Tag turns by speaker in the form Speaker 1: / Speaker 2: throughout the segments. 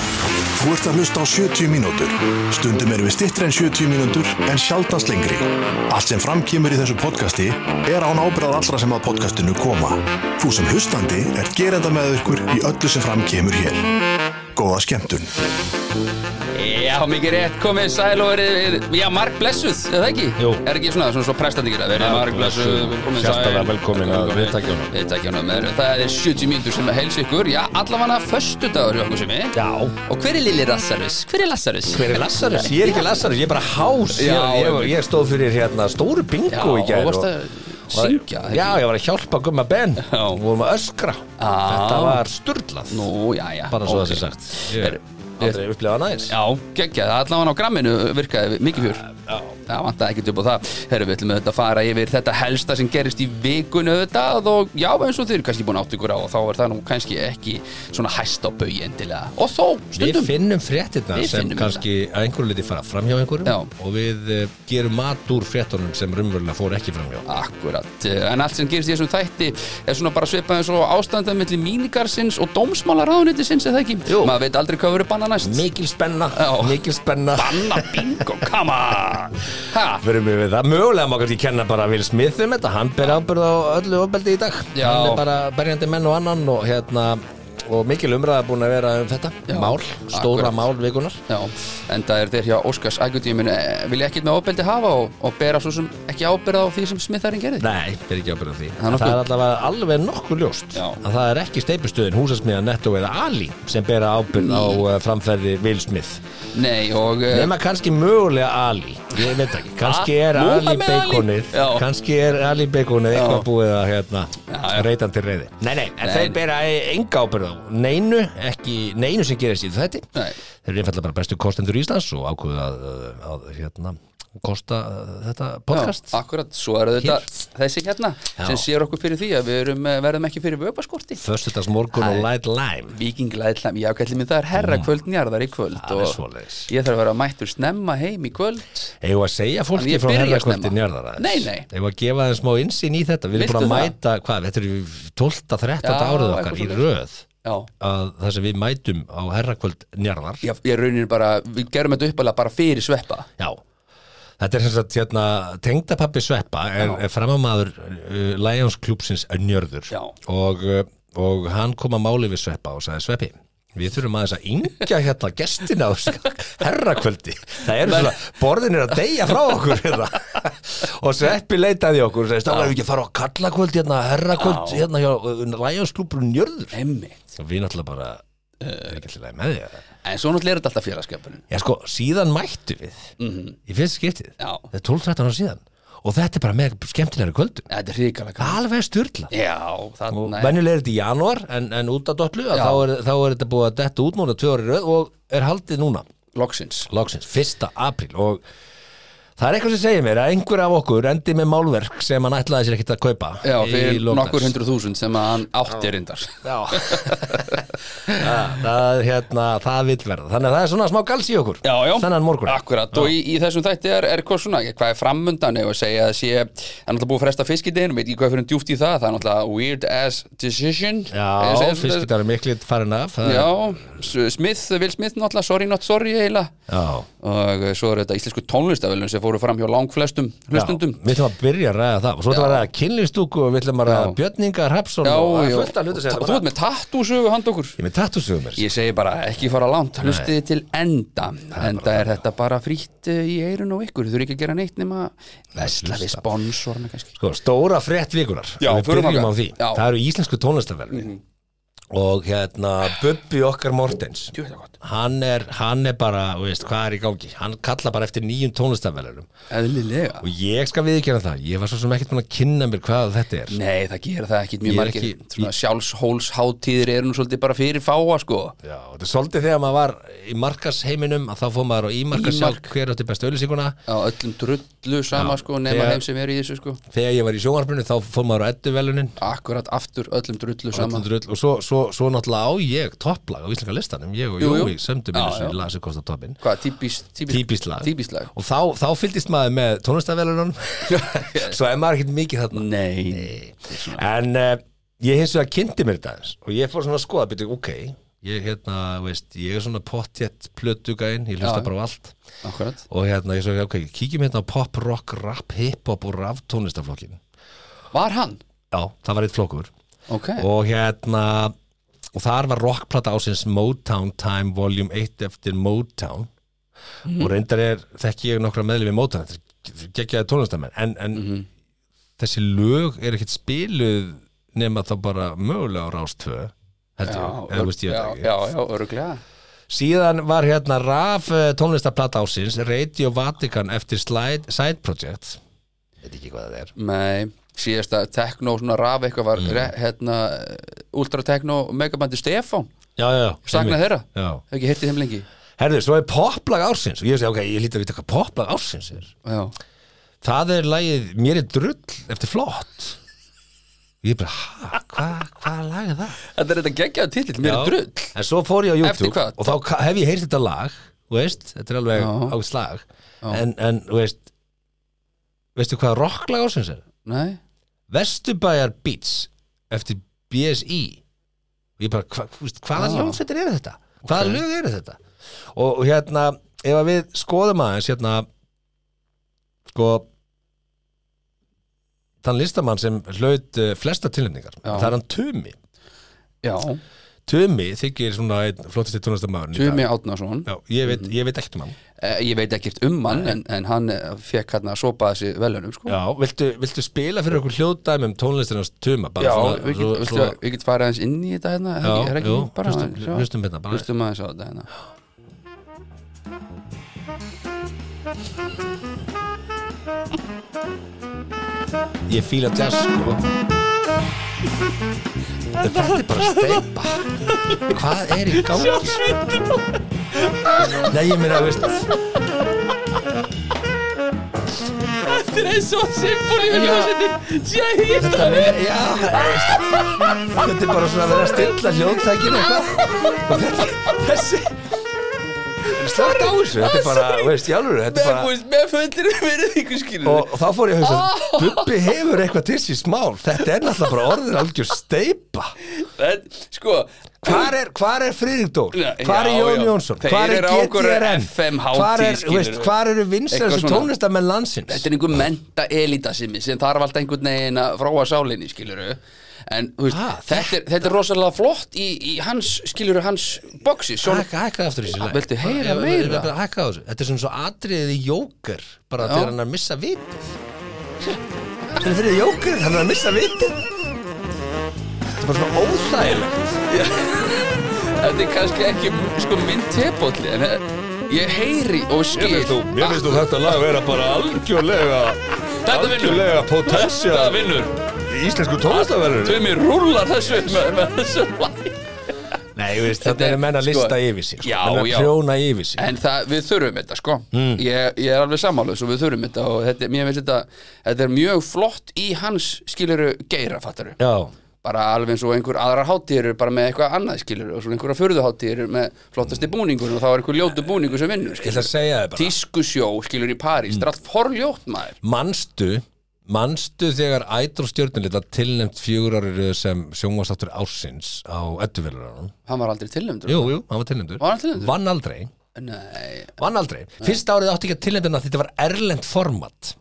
Speaker 1: Þú ert að hlusta á 70 mínútur. Stundum erum við stittri en 70 mínútur en sjaldast lengri. Allt sem framkýmur í þessu podcasti er án ábyrðað allra sem að podcastinu koma. Þú sem hlustandi er gerenda með ykkur í öllu sem framkýmur hér. Góða skemmtun.
Speaker 2: Já, mikið rétt, komið sæl og verið, já, marg blessuð, er það ekki?
Speaker 3: Jú.
Speaker 2: Er ekki svona, svona svo prestandingir að verið marg blessuð, komið sæl.
Speaker 3: Hjartalega velkomin að viðtækjunum.
Speaker 2: Viðtækjunum, er, það er 70 mínútur sem að helsa ykkur, já, allavega föstu dagur hjá okkur sem er.
Speaker 3: Já
Speaker 2: Og hver er Lili Lassarus? Hver er Lassarus?
Speaker 3: Hver er Lassarus? Ég er ekki Lassarus, ég er bara hás Ég,
Speaker 2: Já,
Speaker 3: ég,
Speaker 2: einmitt.
Speaker 3: ég stóð fyrir hérna stóru bingo
Speaker 2: Já,
Speaker 3: í gær
Speaker 2: og varst að syngja,
Speaker 3: og-
Speaker 2: ekki?
Speaker 3: Já, ég var að hjálpa Gumma Ben
Speaker 2: Já.
Speaker 3: og vorum að öskra Þetta var sturlað
Speaker 2: Nú, já, já.
Speaker 3: Bara svo
Speaker 2: ok.
Speaker 3: það sé sagt
Speaker 2: Er,
Speaker 3: Aldrei upplifað næs
Speaker 2: já, geggja, það allavega á gramminu virkaði mikið fjör.
Speaker 3: Já.
Speaker 2: Það vantaði ekkert upp á það Herru, við ætlum auðvitað að fara yfir þetta helsta sem gerist í vikun auðvitað og já, eins og þið eru kannski búin átt ykkur á og þá er það nú kannski ekki svona hæst á bauði endilega og þó,
Speaker 3: Við
Speaker 2: stundum
Speaker 3: finnum fréttina
Speaker 2: Við
Speaker 3: sem
Speaker 2: finnum
Speaker 3: kannski að einhverju liti fara fram hjá einhverjum
Speaker 2: Já.
Speaker 3: og við eh, gerum mat úr fréttunum sem rumvöldina fór ekki fram hjá
Speaker 2: Akkurat, en allt sem gerist í þessum þætti er svona bara svipað eins og ástandað milli mínigarsins og dómsmálaráðunittisins eða ekki,
Speaker 3: Jú.
Speaker 2: maður veit aldrei hvað verið banna næst
Speaker 3: Mikil spenna,
Speaker 2: Já.
Speaker 3: mikil spenna
Speaker 2: Banna bingo, come on Ha,
Speaker 3: Fyrir mig við það, mögulega má kannski kenna bara Will Smith um þetta, hann ber ábyrð á öllu ofbeldi í dag,
Speaker 2: Já.
Speaker 3: hann er bara berjandi menn og annan og hérna og mikil umræða búin að vera um þetta
Speaker 2: Já,
Speaker 3: mál, stóra
Speaker 2: akkurat.
Speaker 3: mál vikunar
Speaker 2: Já, en það er þeir hjá Óskars Ægjöndíminu vilja ekkert með ábeldi hafa og, og bera svo sem ekki ábyrða á því sem smittarinn gerði
Speaker 3: Nei, ber ekki ábyrð á því
Speaker 2: Það er
Speaker 3: það,
Speaker 2: nokkuð-
Speaker 3: er allavega alveg nokkuð ljóst
Speaker 2: Já.
Speaker 3: að það er ekki steipistöðin, húsasmiða, netto eða Ali sem bera ábyrð á eh, framferði Will Smith
Speaker 2: Nei, og eh,
Speaker 3: Nefna kannski mögulega Ali Ég veit ekki, kannski
Speaker 2: Ah,
Speaker 3: er Ali
Speaker 2: Múhameð Ali?
Speaker 3: beikonið
Speaker 2: Já.
Speaker 3: Kannski er Ali beikonið eitthvað búið að hérna,
Speaker 2: Já, já.
Speaker 3: reytan til reyði Nei, nei, en
Speaker 2: Nei.
Speaker 3: þeir bera e- enga ábyrð á Neinu, ekki neinu sem gerist í þetta
Speaker 2: Nei.
Speaker 3: Þeir eru einfallega bara bestu kostendur Íslands og ákveðu að, að hérna, kosta uh, þetta podcast
Speaker 2: Já, Ah. akkurat, svo eru þetta þessi hérna sem sér okkur fyrir því að við erum, eh, verðum ekki fyrir vöpaskorti
Speaker 3: Föstudags morgun og light lime
Speaker 2: Víkinglæðlam, já, kallið minn það er herra kvöld njarðar í kvöld
Speaker 3: Mm. Það er
Speaker 2: og
Speaker 3: svoleiðis.
Speaker 2: Ég þarf að vera mættur snemma heim í kvöld
Speaker 3: Eigum við að segja
Speaker 2: En
Speaker 3: fólki
Speaker 2: ég
Speaker 3: frá
Speaker 2: byrja
Speaker 3: herrakvöldi
Speaker 2: snemma.
Speaker 3: njörðara
Speaker 2: Nei, nei.
Speaker 3: Eigum við að gefa þeim smá insýn í þetta Við erum
Speaker 2: Viltu
Speaker 3: búin að
Speaker 2: það?
Speaker 3: mæta, hvað, þetta er 12. 13.
Speaker 2: Já,
Speaker 3: árið
Speaker 2: eitthvað
Speaker 3: okkar í
Speaker 2: svoleiðis.
Speaker 3: röð
Speaker 2: Já
Speaker 3: að það sem við mætum á herrakvöld njarðar
Speaker 2: Ég, ég raunir bara, við gerum þetta uppalega bara fyrir sveppa
Speaker 3: Já. Þetta er sem sagt hérna, tengdapappi Sveppa er, er framamaður uh, Lions klúpsins njörður
Speaker 2: Já.
Speaker 3: og, uh, og hann kom að máli við Sveppa og sagði Sveppi Við þurfum aðeins að yngja hérna gestina á herrakvöldi. Það eru svona, borðin er að deyja frá okkur hérna. Og Sveppi leitaði í okkur og sagði, stáðum við ekki að fara á kallakvöld hérna, herrakvöld
Speaker 2: Já.
Speaker 3: hérna hjá uh, Lions klúbrun njörður.
Speaker 2: Einmitt
Speaker 3: Og við náttúrulega bara, uh, er ekki alltaf með því að
Speaker 2: En svo náttúrulega er þetta alltaf félagskjöpunin
Speaker 3: Já sko, síðan mættu við í fyrst skiptið,
Speaker 2: Já.
Speaker 3: þetta er 12-13 ára síðan og þetta er bara með skemmtilegri kvöldum
Speaker 2: Þetta er hrikalega
Speaker 3: alveg styrla
Speaker 2: Já, þannig
Speaker 3: Venjulega er þetta í janúar en, en út af dollu að
Speaker 2: Já.
Speaker 3: þá er, þá er þetta búið að detta út núna tvö ári röð og er haldið núna
Speaker 2: Loksins
Speaker 3: loksins, 1. apríl og það er eitthvað sem segir mér að einhver af okkur endi með málverk sem hann ætlaði sér ekkert að kaupa
Speaker 2: Já,
Speaker 3: í
Speaker 2: fyrir
Speaker 3: lok dags.
Speaker 2: nokkur hundruð þúsund sem að hann átti reyndar
Speaker 3: Já það, það, hérna, það vil verða þannig að það er svona smá gals í okkur
Speaker 2: já, já.
Speaker 3: þennan morgun
Speaker 2: Akkurat, og í, í þessum þætti er, er hvað svona, hvað er framundan ef að segja að sé, það er náttúrulega búið að fresta fiskideginu, veit ég hvað fyrir um djúpt í það, það er náttúrulega weird ass decision Ég
Speaker 3: Já,
Speaker 2: segi-
Speaker 3: fiskidar er miklið farin af það er-
Speaker 2: Já, S- Smith, Will Smith náttúrulega, sorry not sorry heila
Speaker 3: Já.
Speaker 2: og eh, svo er þetta íslensku tónlistavölun sem fóru fram hjá langflestum hlustundum
Speaker 3: Já, Við ætlum að byrja að ræða það og svo ætlum við að ræða kynlistúku og við ætlum að ræða
Speaker 2: Já.
Speaker 3: Björninga Hrapsson og það er fullt að hluta
Speaker 2: Þú
Speaker 3: segja
Speaker 2: ert með tattúsögu hand okkur
Speaker 3: Ég er með tattúsugum mér
Speaker 2: Ég segi bara ekki fara langt, hlustiði til enda Enda er þetta bara frýtt í eirun og ykkur, þú eru ekki að gera neitt nema Vesla við sponsorna kannski
Speaker 3: Sko, stóra frétt vikunar
Speaker 2: Já,
Speaker 3: Við
Speaker 2: förum
Speaker 3: byrjum á
Speaker 2: þangað.
Speaker 3: því
Speaker 2: Já. Mhm.
Speaker 3: Það eru íslensku tónlistarverfi og hérna Bubbi okkar Mortens
Speaker 2: Jú, þetta er gott
Speaker 3: hann er, hann er bara, þú veist, hvað er í gangi hann kalla bara eftir nýjum tónlistarverðunum
Speaker 2: Eðlilega
Speaker 3: og ég skal viðkjöna það, ég var svo sem ekkert búin að kynna mér hvað þetta er
Speaker 2: Nei, það gera það ekkit mjög
Speaker 3: Ég er
Speaker 2: margir
Speaker 3: ekki-
Speaker 2: Svona sjálfshólsháttíðir eru nú svolítið bara fyrir fáa sko
Speaker 3: Já, þetta er svolítið þegar maður var í markasheiminum að þá fór maður á ímarka sjálf hver átti bestu auðlýsinguna
Speaker 2: Á öllum drullu sama
Speaker 3: Já,
Speaker 2: sko nema
Speaker 3: þegar-
Speaker 2: þeim sem eru í þessu sko
Speaker 3: þegar ég var í sjónvarpinu þá fór maður á edduvelunin
Speaker 2: Akkurat aftur öllum drullu sama
Speaker 3: og svo, svo, svo náttúrulega á ég topplag á íslenska listanum, ég og
Speaker 2: Jú, jú.
Speaker 3: Jói sömdum
Speaker 2: Já,
Speaker 3: einu sinni
Speaker 2: já.
Speaker 3: lasi kosta toppin
Speaker 2: Hvað, típist, típist,
Speaker 3: típist lag
Speaker 2: típist lag
Speaker 3: og þá, þá fylgist maður með tónlistavelunum svo er maður ekkert mikið þarna eh,
Speaker 2: Nei, Nei.
Speaker 3: en uh, ég hins vegar kynnti mér þetta aðeins og ég fór svona að skoða byrju, ok, ég, hérna, veist, ég er svona pottjett plötugæinn, ég hlusta
Speaker 2: Já.
Speaker 3: bara á allt
Speaker 2: akkurat
Speaker 3: og hérna, ég svo, ok, kíkjum hérna á pop, rock, rap, hiphop og raf tónlistaflokkin
Speaker 2: Var hann?
Speaker 3: já, það var eitt flokkur
Speaker 2: Ok,
Speaker 3: og hérna og þar var rockplata ásins Motown Time Volume 1 eftir Motown
Speaker 2: Mhm.
Speaker 3: og reyndar er þekki ég nokkra meðlum í Motown þetta er geggjaði tónlistamenn en, en
Speaker 2: Mhm.
Speaker 3: þessi lög er ekkert spiluð nema þá bara mögulega á rástvö heldur,
Speaker 2: já,
Speaker 3: ég, eða
Speaker 2: örg-
Speaker 3: veist ég þetta
Speaker 2: já,
Speaker 3: ekki
Speaker 2: já, já, öruglega
Speaker 3: Síðan var hérna raf tónlistaplata ásins Radio Vatican eftir Slide, Side Project Veit ekki hvað það er
Speaker 2: Nei, síðasta techno, svona raf eitthvað var re, hérna, ultra techno megabandi Stefán,
Speaker 3: Já, já, já
Speaker 2: sakna þeirra
Speaker 3: Já
Speaker 2: Hef ekki hirtið þeim lengi
Speaker 3: Herðu, svo er poplag ársins og ég segi, ok, ég líti að vita hvað poplag ársins er
Speaker 2: Já,
Speaker 3: Það er lagið Mér er drull eftir flott Ég er bara, hæ, hvað hva lag er það?
Speaker 2: þetta er þetta geggjaðu titill, mér er
Speaker 3: Já.
Speaker 2: drull
Speaker 3: En svo fór ég á
Speaker 2: Eftir
Speaker 3: YouTube
Speaker 2: hvað?
Speaker 3: og þá ka- hef ég heyrt þetta lag þú veist, þetta er alveg
Speaker 2: Já.
Speaker 3: ágætt slag en, en, þú veist veistu hvað rocklag ársins er?
Speaker 2: Nei,
Speaker 3: Vesturbæjar Beats eftir BSI og ég bara, hva, húst, hvaða
Speaker 2: Ah.
Speaker 3: ljónsveitir eru þetta? hvaða lög eru þetta? Og, og hérna, ef að við skoðum aðeins hérna sko þann listamann sem hlaut uh, flesta tilnefningar,
Speaker 2: Já.
Speaker 3: það er hann Tumi
Speaker 2: já,
Speaker 3: Tumi þykir svona einn flottasti tónlistamæður
Speaker 2: Tumi Mhm. Átnason
Speaker 3: Já, ég veit, ég veit ekkert um hann
Speaker 2: Eh, Ég veit ekkert um hann, en, en hann eh, fekk hann að sopa þessi velunum, sko
Speaker 3: Já, viltu, viltu spila fyrir okkur hljóðdæmi um tónlistinans Tuma? Bara
Speaker 2: Já,
Speaker 3: svona-
Speaker 2: við
Speaker 3: svo-
Speaker 2: getum
Speaker 3: svo-
Speaker 2: get, get farið aðeins inn í þetta hérna er ekki-
Speaker 3: Já,
Speaker 2: er ekki
Speaker 3: jú,
Speaker 2: bara
Speaker 3: hlustum-
Speaker 2: sjá-
Speaker 3: hlustum hérna, bara-
Speaker 2: Hlustum aðeins á þetta hérna
Speaker 3: Ég fíla jazz sko Þetta er bara steipa Hvað er í gangi? Sjá svindum Nei, ég meina, veist
Speaker 2: Þetta er eins og symfóníu hljóðsetting Jæja,
Speaker 3: Þetta er, já veist, Þetta er bara svona að vera að stilla hljóðtækin eitthvað Og þetta, þessi Slagt á þessu, þetta er bara, veist, jálfur Þetta er bara
Speaker 2: með föndir verið ykkur skilur
Speaker 3: Og, og þá fór ég að hugsa, Bubbi hefur eitthvað til síns mál Þetta er náttúrulega bara orðin algjör steipa
Speaker 2: En, sko
Speaker 3: Hvar er, hvar er Friðrik Dór?
Speaker 2: Já,
Speaker 3: Hvar er
Speaker 2: já,
Speaker 3: Jón
Speaker 2: já.
Speaker 3: Jónsson?
Speaker 2: Þeir
Speaker 3: Hvar er
Speaker 2: eru á einhverju
Speaker 3: GTRN?
Speaker 2: FM hátíð,
Speaker 3: Hvar er,
Speaker 2: skilurðu.
Speaker 3: veist, hvar eru
Speaker 2: Eitthvað
Speaker 3: vinsæðast
Speaker 2: svona.
Speaker 3: tónlistamenn landsins?
Speaker 2: Þetta er einhver menta elitasimi sem þarf alltaf einhvern veginn að fráa sálinni, skiluru En, þú veist,
Speaker 3: Ah,
Speaker 2: þetta, er, þetta er rosalega flott í, í hans, skiluru, hans boxi Sjón,
Speaker 3: Hækka, hækka aftur í þessu lag
Speaker 2: Ah, Viltu heyra
Speaker 3: Ég-
Speaker 2: meira?
Speaker 3: ég- ég- bara Hækka á þessu Þetta er svona svo atriðið í jóker bara
Speaker 2: Já.
Speaker 3: þegar hann er að missa vitið Þetta er fyrir jóker, hann er að missa vitið Þetta er bara svona óþægilegt
Speaker 2: þetta er kannski ekki, sko, minn tepolli En eh, ég heyri og skil
Speaker 3: þú þetta lag vera bara algjörlega
Speaker 2: Þetta vinnur. algjörlega
Speaker 3: potensja
Speaker 2: Þetta vinnur,
Speaker 3: í íslensku tónlistaverðinu
Speaker 2: tveimir rúlar þessu með, með þessu lagi
Speaker 3: Nei, veist,
Speaker 2: Þetta
Speaker 3: þetta
Speaker 2: er-
Speaker 3: er menn að
Speaker 2: sko-
Speaker 3: lista yfir sig sko.
Speaker 2: Já,
Speaker 3: menn að
Speaker 2: já.
Speaker 3: prjóna yfir sig
Speaker 2: En það, við þurfum þetta sko ég, ég er alveg sammálaus og við þurfum þetta og þetta, mér finnst þetta, þetta er mjög flott í hans skiluru geira fattaru
Speaker 3: Já,
Speaker 2: bara alveg eins og einhver aðrar hátíður bara með eitthvað annað skilur og svona einhverja furðuhátíður með flottasti búningur og þá er einhver ljótu búningur sem vinnur
Speaker 3: Mm. Ég ætla að Mm.
Speaker 2: skilur
Speaker 3: segja þið bara
Speaker 2: tískusjó skilur í París, þetta er allt forljótt maður
Speaker 3: Manstu, manstu þegar Ædol stjörnulita tilnefnt fjögur árið sem sjónvastáttur ársins á Edduveluranum
Speaker 2: hann var aldrei tilnæmdur
Speaker 3: Jú, jú, hann var tilnefndur
Speaker 2: Var hann tilnefndur?
Speaker 3: Vann aldrei,
Speaker 2: Nei,
Speaker 3: vann aldrei Fyrsta árið átti ekki að tilnefndina þetta var erlend format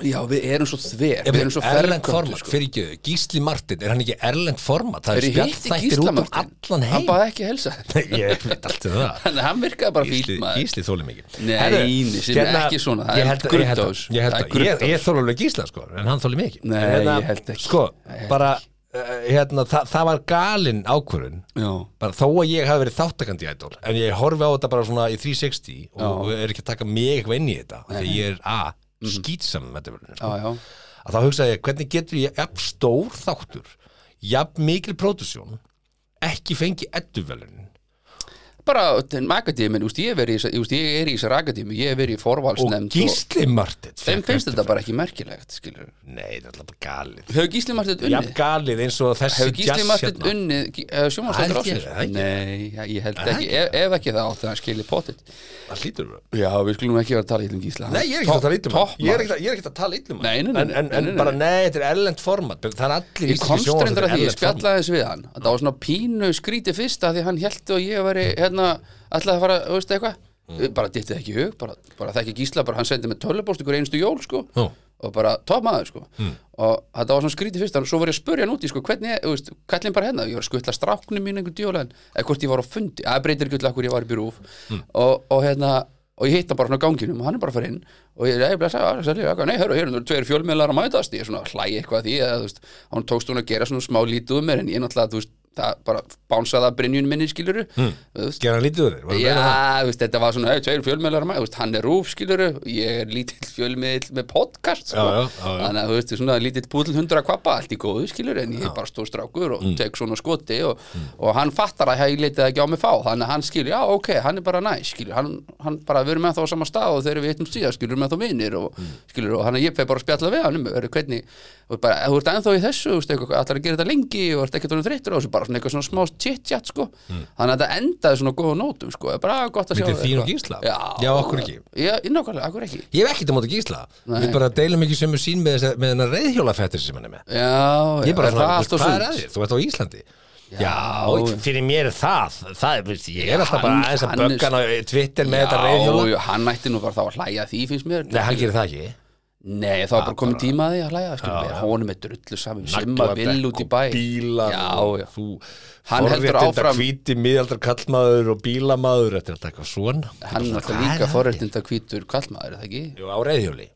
Speaker 2: já við erum svo þver við erum svo
Speaker 3: Erlend
Speaker 2: ferköntu
Speaker 3: format,
Speaker 2: sko.
Speaker 3: fyrir ekki Gísli Martin, er hann ekki erlend format? Það
Speaker 2: Þegar
Speaker 3: er
Speaker 2: ég hitti
Speaker 3: spjallþættir
Speaker 2: Gísla
Speaker 3: út um
Speaker 2: Martin,
Speaker 3: allan
Speaker 2: hann
Speaker 3: heim
Speaker 2: bara ekki helsa þér.
Speaker 3: Ég veit allt um það
Speaker 2: Þannig að hann virkaði bara fýt
Speaker 3: Gísli,
Speaker 2: maður
Speaker 3: Gísli þóli mikið
Speaker 2: Nei, nei, sem er ekki svona, það er
Speaker 3: hérna- Ég held að, ég held að,
Speaker 2: grunntós.
Speaker 3: ég, held
Speaker 2: Það er
Speaker 3: að ég,
Speaker 2: grunntós.
Speaker 3: ég þóli alveg Gísla sko En hann þóli mikið
Speaker 2: Nei,
Speaker 3: En
Speaker 2: ég held ekki.
Speaker 3: Sko,
Speaker 2: Ég held
Speaker 3: bara, uh, hérna, það, það var galin ákvörun
Speaker 2: Já,
Speaker 3: bara þó að ég hafi verið þáttakandi í Idol en ég horfi á þetta bara svona í 360 og er ekki að taka mig eitthvað inn í þetta af því að ég er a, skýtsam með þetta verður
Speaker 2: Mhm. já, já
Speaker 3: að þá hugsaði ég hvernig getur ég jafn stór þáttur jafn mikil pródusjón ekki fengi edduvelunin
Speaker 2: bara akadémin, úst, ég, hef verið í þessa- ég, úst, ég er í þessar akadémi ég hef verið í
Speaker 3: og
Speaker 2: forvalsnefnd
Speaker 3: Gísli Martin
Speaker 2: þeim finnst þetta bara ekki merkilegt skilur.
Speaker 3: Nei, þetta er alltaf bara galið
Speaker 2: hefur Gísli Martett
Speaker 3: Jafn
Speaker 2: unnið?
Speaker 3: galið eins og þessi
Speaker 2: hefur Gísli
Speaker 3: jazz
Speaker 2: Martett
Speaker 3: hérna.
Speaker 2: unnið sjómanstættur á
Speaker 3: Held ég,
Speaker 2: sér?
Speaker 3: það ekki.
Speaker 2: Nei, ja, ég held
Speaker 3: Það
Speaker 2: ekki ef, ef ekki það átti hann skilið pottet
Speaker 3: Það hlýtur það
Speaker 2: já, við skulum ekki vera að tala ítlum Gísla
Speaker 3: Nei, ég er ekki að tala um illum hann. Ég er
Speaker 2: toppmaður.
Speaker 3: ekki að- ég er ekki að tala illum hann.
Speaker 2: Nei, nei, nei,
Speaker 3: En, en,
Speaker 2: nei,
Speaker 3: en
Speaker 2: nei, nei.
Speaker 3: bara, nei, þetta er erlend format Það er allir
Speaker 2: Ég komst reyndar að því, ég
Speaker 3: um
Speaker 2: spjallaði þessu við hann Það var svona pínu skrítið fyrst að því hann held og ég veri, hérna, ætlaði að fara, þú veist eitthvað
Speaker 3: Mm.
Speaker 2: Bara dittið ekki í hug, bara, bara þekki gísla, bara hann sendi með tölvupóst ykkur einstu jól, sko
Speaker 3: Já.
Speaker 2: Og bara topp maður, sko Og þetta var svona skrítið fyrst, en svo var ég að spurja hann úti, sko, hvernig, þú veist, kallin bara hérna Ég var að skutla stráknum mín einhver djólaðin Eða hvort ég var á fundi, að breytir gullu akkur ég var í byrúf og, og hérna, og ég hitt hann bara svona á ganginum og hann er bara að fara inn og ég er bara að segja, nei, hörru, hér eru tveir fjölmiðlar að mætast, ég er svona að hlæja eitthvað að því að, þú veist, hann tókst hún að gera svona smá lítið um mér en ég náttúrulega, þú veist, það bara bánsaði að brinjun minni, skiluru mm. veist,
Speaker 3: Gerðan lítið úr þér var að
Speaker 2: já,
Speaker 3: meina það?
Speaker 2: þú veist, þetta var svona, hey, tveir fjölmiðlar að mætast, þú veist, hann er rúf, skiluru ég er lítill fjölmiðl með podcast sko.
Speaker 3: Já, já, já, já.
Speaker 2: þannig að, þú veist, svona lítill púl hundra kvappa, allt í góðu, skiluru en ég er bara stóð strákur
Speaker 3: Mm.
Speaker 2: og tek svona skoti og, og hann fattar að ég leitið ekki á mig fá þannig að hann skilur, já, ok, hann er bara næ skilur, hann, hann bara, við erum ennþá á sama stað og þegar við hittum síðan, skilur, við erum ennþá vinir og,
Speaker 3: Mm.
Speaker 2: skilur, og hann að ég feg bara að spjalla við hann um er, hvernig, og bara, þú ert ennþá í þessu þú veist, eitthvað, allar að gera þetta lengi og ert ekkert honum þreyttur á þessu, bara svona eitthvað svona smá chit-chat sko,
Speaker 3: Mm.
Speaker 2: þannig að þetta endaði svona á góðum nótum, sko, bara gott að sjá
Speaker 3: Milli þín
Speaker 2: eitthvað.
Speaker 3: og Gísla?
Speaker 2: Já,
Speaker 3: Já, af hverju ekki?
Speaker 2: Já, nákvæmlega, akkur ekki
Speaker 3: Ég hef ekkert á móti gísla
Speaker 2: Nei.
Speaker 3: Við bara deilum ekki sömu sín með, þessa- með hennar reyðhjólafettir sem hann er með
Speaker 2: Já, já,
Speaker 3: Ég bara
Speaker 2: er það
Speaker 3: svona,
Speaker 2: allt og
Speaker 3: hvað er
Speaker 2: sumt?
Speaker 3: að þér? Þú ert á Íslandi Já,
Speaker 2: Já.
Speaker 3: fyrir mér er það, það er, veist, Ég er alltaf bara
Speaker 2: hann-
Speaker 3: aðeins að
Speaker 2: hann er-
Speaker 3: böggan á Twitter með þetta
Speaker 2: Já,
Speaker 3: reyðhjóla
Speaker 2: já, hann ætti nú bara þá að hlæja að því, finnst mér
Speaker 3: Nei, hann gerir það ekki
Speaker 2: Nei, það var bara komið tíma að því að hlæja skilum við, honum er drullu saman, simma
Speaker 3: Nagladekk
Speaker 2: vill út í bæ
Speaker 3: og bílar
Speaker 2: Já,
Speaker 3: og
Speaker 2: já,
Speaker 3: þú
Speaker 2: Hann heldur
Speaker 3: forréttinda
Speaker 2: áfram-
Speaker 3: hvíti miðaldar kallmaður og bílamaður þetta er alltaf eitthvað svona
Speaker 2: hann er alltaf líka forréttinda hvítur kallmaður, er það ekki?
Speaker 3: Jú, á reyðhjóli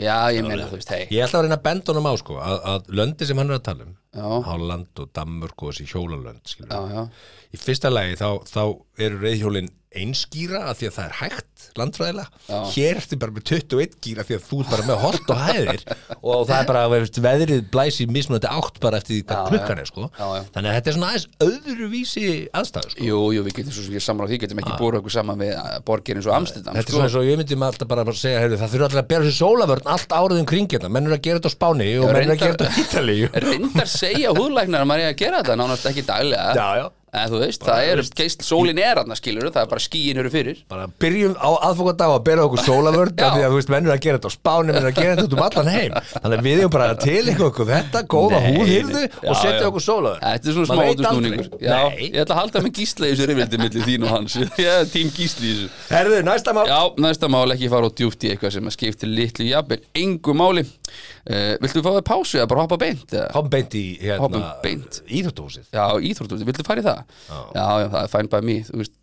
Speaker 2: Já, ég meina, þú veist, hei
Speaker 3: ég ætla að reyna að benda honum á sko að, að löndi sem hann er að tala um
Speaker 2: Já,
Speaker 3: Holland og Danmörk og þessi hjólalönd skilur.
Speaker 2: já, já,
Speaker 3: í fyrsta lagi þá, þá eru reyðhjólin einskýra af því að það er hægt landfræðilega,
Speaker 2: Já.
Speaker 3: hér ertu bara með 21 gýra því að þú ert bara með holt og hæðir og það er bara, veist, veðrið blæsi mismunandi átt bara eftir því hvað klukkan er sko.
Speaker 2: Já, já.
Speaker 3: þannig að þetta er svona aðeins öðruvísi aðstæður sko.
Speaker 2: jú, jú, við getum svo sem ég samráð því, getum ekki búið okkur saman við eh, borgir eins og sko. Amstendam,
Speaker 3: Þetta er svona eins og ég myndi maður alltaf bara að segja heyrðu, það þurfa alltaf að bera þessi sólavörn allt árið um kring hérna, menn eru að gera þetta á Spáni og menn eru að gera þetta á Ítalíu
Speaker 2: reyndar segja húðlæknar að maður er að gera þetta nánast ekki daglega
Speaker 3: Já, já.
Speaker 2: En þú veist, það er, geist, sólin er aðna skilur það er bara skíin eru fyrir
Speaker 3: bara byrjum á aðfokadag að bera okkur sólavörn af því að þú veist, menn eru að gera þetta á Spáni menn eru að gera þetta út um allan heim þannig að við erum bara að tilika okkur þetta góða
Speaker 2: Nei,
Speaker 3: húðhyrðu
Speaker 2: nei. Já,
Speaker 3: og
Speaker 2: já.
Speaker 3: setja okkur sólavörn
Speaker 2: Þetta er svona smá
Speaker 3: Maður veit
Speaker 2: útusnúningur
Speaker 3: aldrei.
Speaker 2: Já,
Speaker 3: Nei.
Speaker 2: Ég ætla að halda með gísla í þessu rifildi millir þín og hans Ég er tím gísli í þessu
Speaker 3: Herðu, næsta mál
Speaker 2: Já, næsta mál ekki fara út djúpt í eitthvað sem að skipti litlu jafnvel engu máli uh, Viltu fá þér pásu eða bara hoppa beint? eða?
Speaker 3: Háum beint í hérna,
Speaker 2: Hoppum beint.
Speaker 3: íþjóttuhúsið
Speaker 2: Já, íþróttu, viltu fara í það?
Speaker 3: Já.
Speaker 2: Já, já, það er fæn bæði mér Þú veist,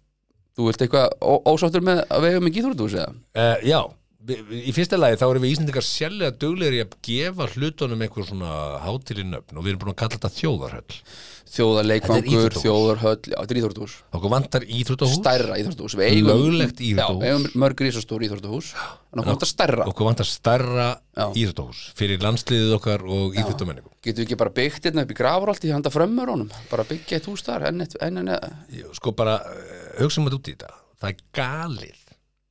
Speaker 2: þú vilt eitthvað ó- ósáttur með að vega mig íþróttu eða?
Speaker 3: Uh, já, vi- vi- í fyrsta lagi þá erum við Íslandingar sérlega duglegir í að gefa hlutunum einhver svona hátilinn öfn og við erum búin að kalla þetta þjóðarhöll Þetta er
Speaker 2: Þjóðarleikvangur,
Speaker 3: íþróttahús.
Speaker 2: þjóðarhöll Já, þetta er íþróttuhús
Speaker 3: okkur vantar íþróttahús
Speaker 2: Stærra íþróttuhús Við
Speaker 3: Löglegt
Speaker 2: Já,
Speaker 3: íþróttahús.
Speaker 2: við eigum mörg risastór íþróttuhús En okkur vantar stærra
Speaker 3: okkur vantar stærra
Speaker 2: Já.
Speaker 3: íþróttahús fyrir landsliðið okkar og íþróttamenningum
Speaker 2: Getum við ekki bara byggt hérna upp í grafur í handa frömmur honum Bara byggja eitt hús þar enn, eitt- enn, enn, enn
Speaker 3: Ég- sko bara, eh, hugsaum þetta út í þetta það er galið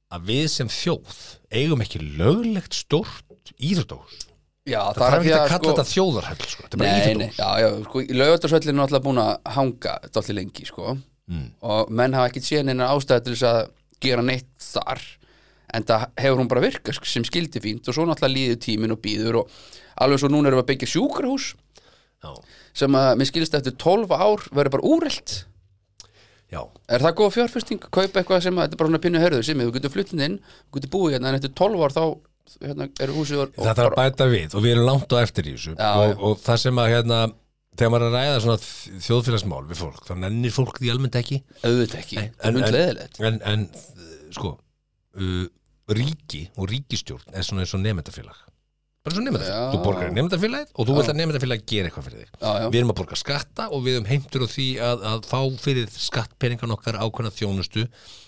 Speaker 3: að við sem þjóð eigum ekki löglegt stórt íþróttahús
Speaker 2: Já,
Speaker 3: það þarf ekki að kalla þetta þjóðarhöll sko. þetta er bara
Speaker 2: Nei, nei,
Speaker 3: íþróttahús
Speaker 2: já, já, sko, lögatarsvöllin er náttúrulega búin að hanga dálítið lengi, sko
Speaker 3: Mm.
Speaker 2: og menn hafa ekkit séð neina ástæði til þess að gera neitt þar en það hefur hún bara virka sem skildi fínt og svo náttúrulega líður tíminn og býður og alveg svo núna erum við að byggja sjúkrahús
Speaker 3: já.
Speaker 2: sem að, mér skilist eftir 12 ár verður bara úrelt
Speaker 3: já,
Speaker 2: Er það góð fjárfesting? Kaupa eitthvað sem að, þetta er bara svona pínu hörður sem þú getur fluttin inn, þú getur búið hérna en eftir 12 ár þá hérna, er húsið og,
Speaker 3: það þarf að bæta við og við erum langt á eftir í þessu
Speaker 2: Já,
Speaker 3: og,
Speaker 2: já.
Speaker 3: og það sem að hérna þegar maður er að ræða svona þ- þjóðfélagsmál við fólk, þá nennir fólk því almennt ekki
Speaker 2: auðvitað ekki, það er
Speaker 3: en,
Speaker 2: hundleðilegt
Speaker 3: en, en eh, sko uh, ríki og ríkistjórn er svona eins og nefndafélag bara eins og nefndafélag,
Speaker 2: Já.
Speaker 3: þú borgar nefndafélagið og þú vilt að nefndafélagið gera eitthvað fyrir þig
Speaker 2: Já, já.
Speaker 3: við erum að borga skatta og við erum heimtur á því að, að fá fyrir skattpeningan okkar ákveðna þjónustu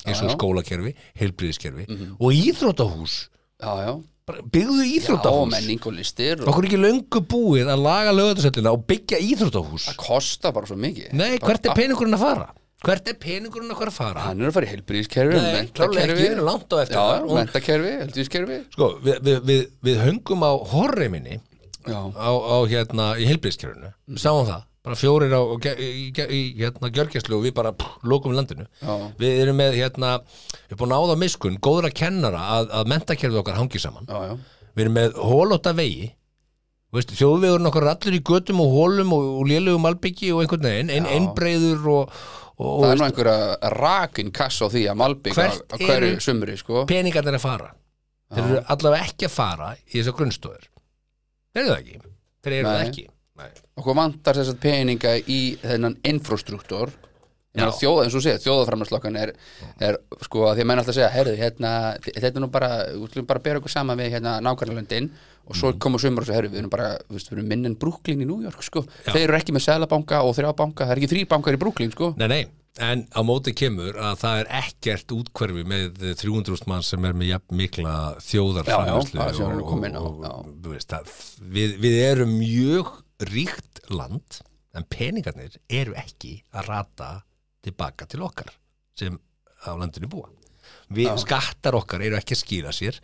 Speaker 3: eins og
Speaker 2: Já, já.
Speaker 3: skólakerfi, heilbriðiskerfi og íþrótahús,
Speaker 2: Já, já,
Speaker 3: bara byggðu
Speaker 2: já, og
Speaker 3: íþrótahús
Speaker 2: menning og listir og
Speaker 3: okkur er ekki löngu búið að laga lögatursöllina og byggja íþrótahús
Speaker 2: það kostar bara svo mikið
Speaker 3: nei, hvert er peningurinn að fara? Hvert er peningurinn okkar að fara?
Speaker 2: hann er að fara í helbriðiskerfi
Speaker 3: Nei, klárlega ekki, við erum langt á eftir
Speaker 2: já,
Speaker 3: þar og-
Speaker 2: mentakerfi, helbriðiskerfi
Speaker 3: Sko, við, við, við, við höngum á horreiminni
Speaker 2: já,
Speaker 3: á, á hérna í heilbríðskjörinu sáum það, bara fjórir á og ge- í, ge- í hérna gjörgjæslu og við bara pff, lokum landinu,
Speaker 2: Já.
Speaker 3: við erum með hérna, við erum búin að áða miskun góðra kennara að, að mentakerfið okkar hangi saman
Speaker 2: já, já,
Speaker 3: við erum með hólóta vegi Þú Veist, þjóðvegurinn okkar er allir í götum og hólum og, og lélugum albyggi og einhvern veginn ein,
Speaker 2: Já.
Speaker 3: einbreiður og, og,
Speaker 2: það er
Speaker 3: og
Speaker 2: nú einhverja rakin kass á því að Malbygg á,
Speaker 3: Hvert
Speaker 2: á hverju
Speaker 3: eru-
Speaker 2: sumri sko.
Speaker 3: peningarnir að fara þeir eru allavega ekki að fara í þessar grunnstóður þeir eru það ekki þeir eru það
Speaker 2: Nei.
Speaker 3: ekki Nei.
Speaker 2: okkur vantar þess að peninga í þennan infrastruktúr
Speaker 3: Já.
Speaker 2: þjóða, eins og segja, þjóðaframhanslokkan er, er sko, að því að menn alltaf segja herðu, hérna, þi- þetta er nú bara við skulum bara bera okkur saman við hérna nákvæmlöndin og svo
Speaker 3: Mhm.
Speaker 2: mm. koma sumar og svo herðu, við erum bara þú veist, við erum minn en Brooklyn í New York, sko þeir eru ekki með seðlabanka og þrjá banka, það er ekki þrý bankar í Brooklyn, sko
Speaker 3: Nei, nei, en á móti kemur að það er ekkert útkverfi með 300.000 mann sem er með jafn mikla þjóðarframleyslu
Speaker 2: Já, já, það sem við erum
Speaker 3: og,
Speaker 2: komin á,
Speaker 3: og,
Speaker 2: já.
Speaker 3: og þú veist, það, við, við erum mjög ríkt land en peningarnir eru ekki að rata tilbaka til okkar sem á landinu búa við, skattar okkar eru ekki að skýra sér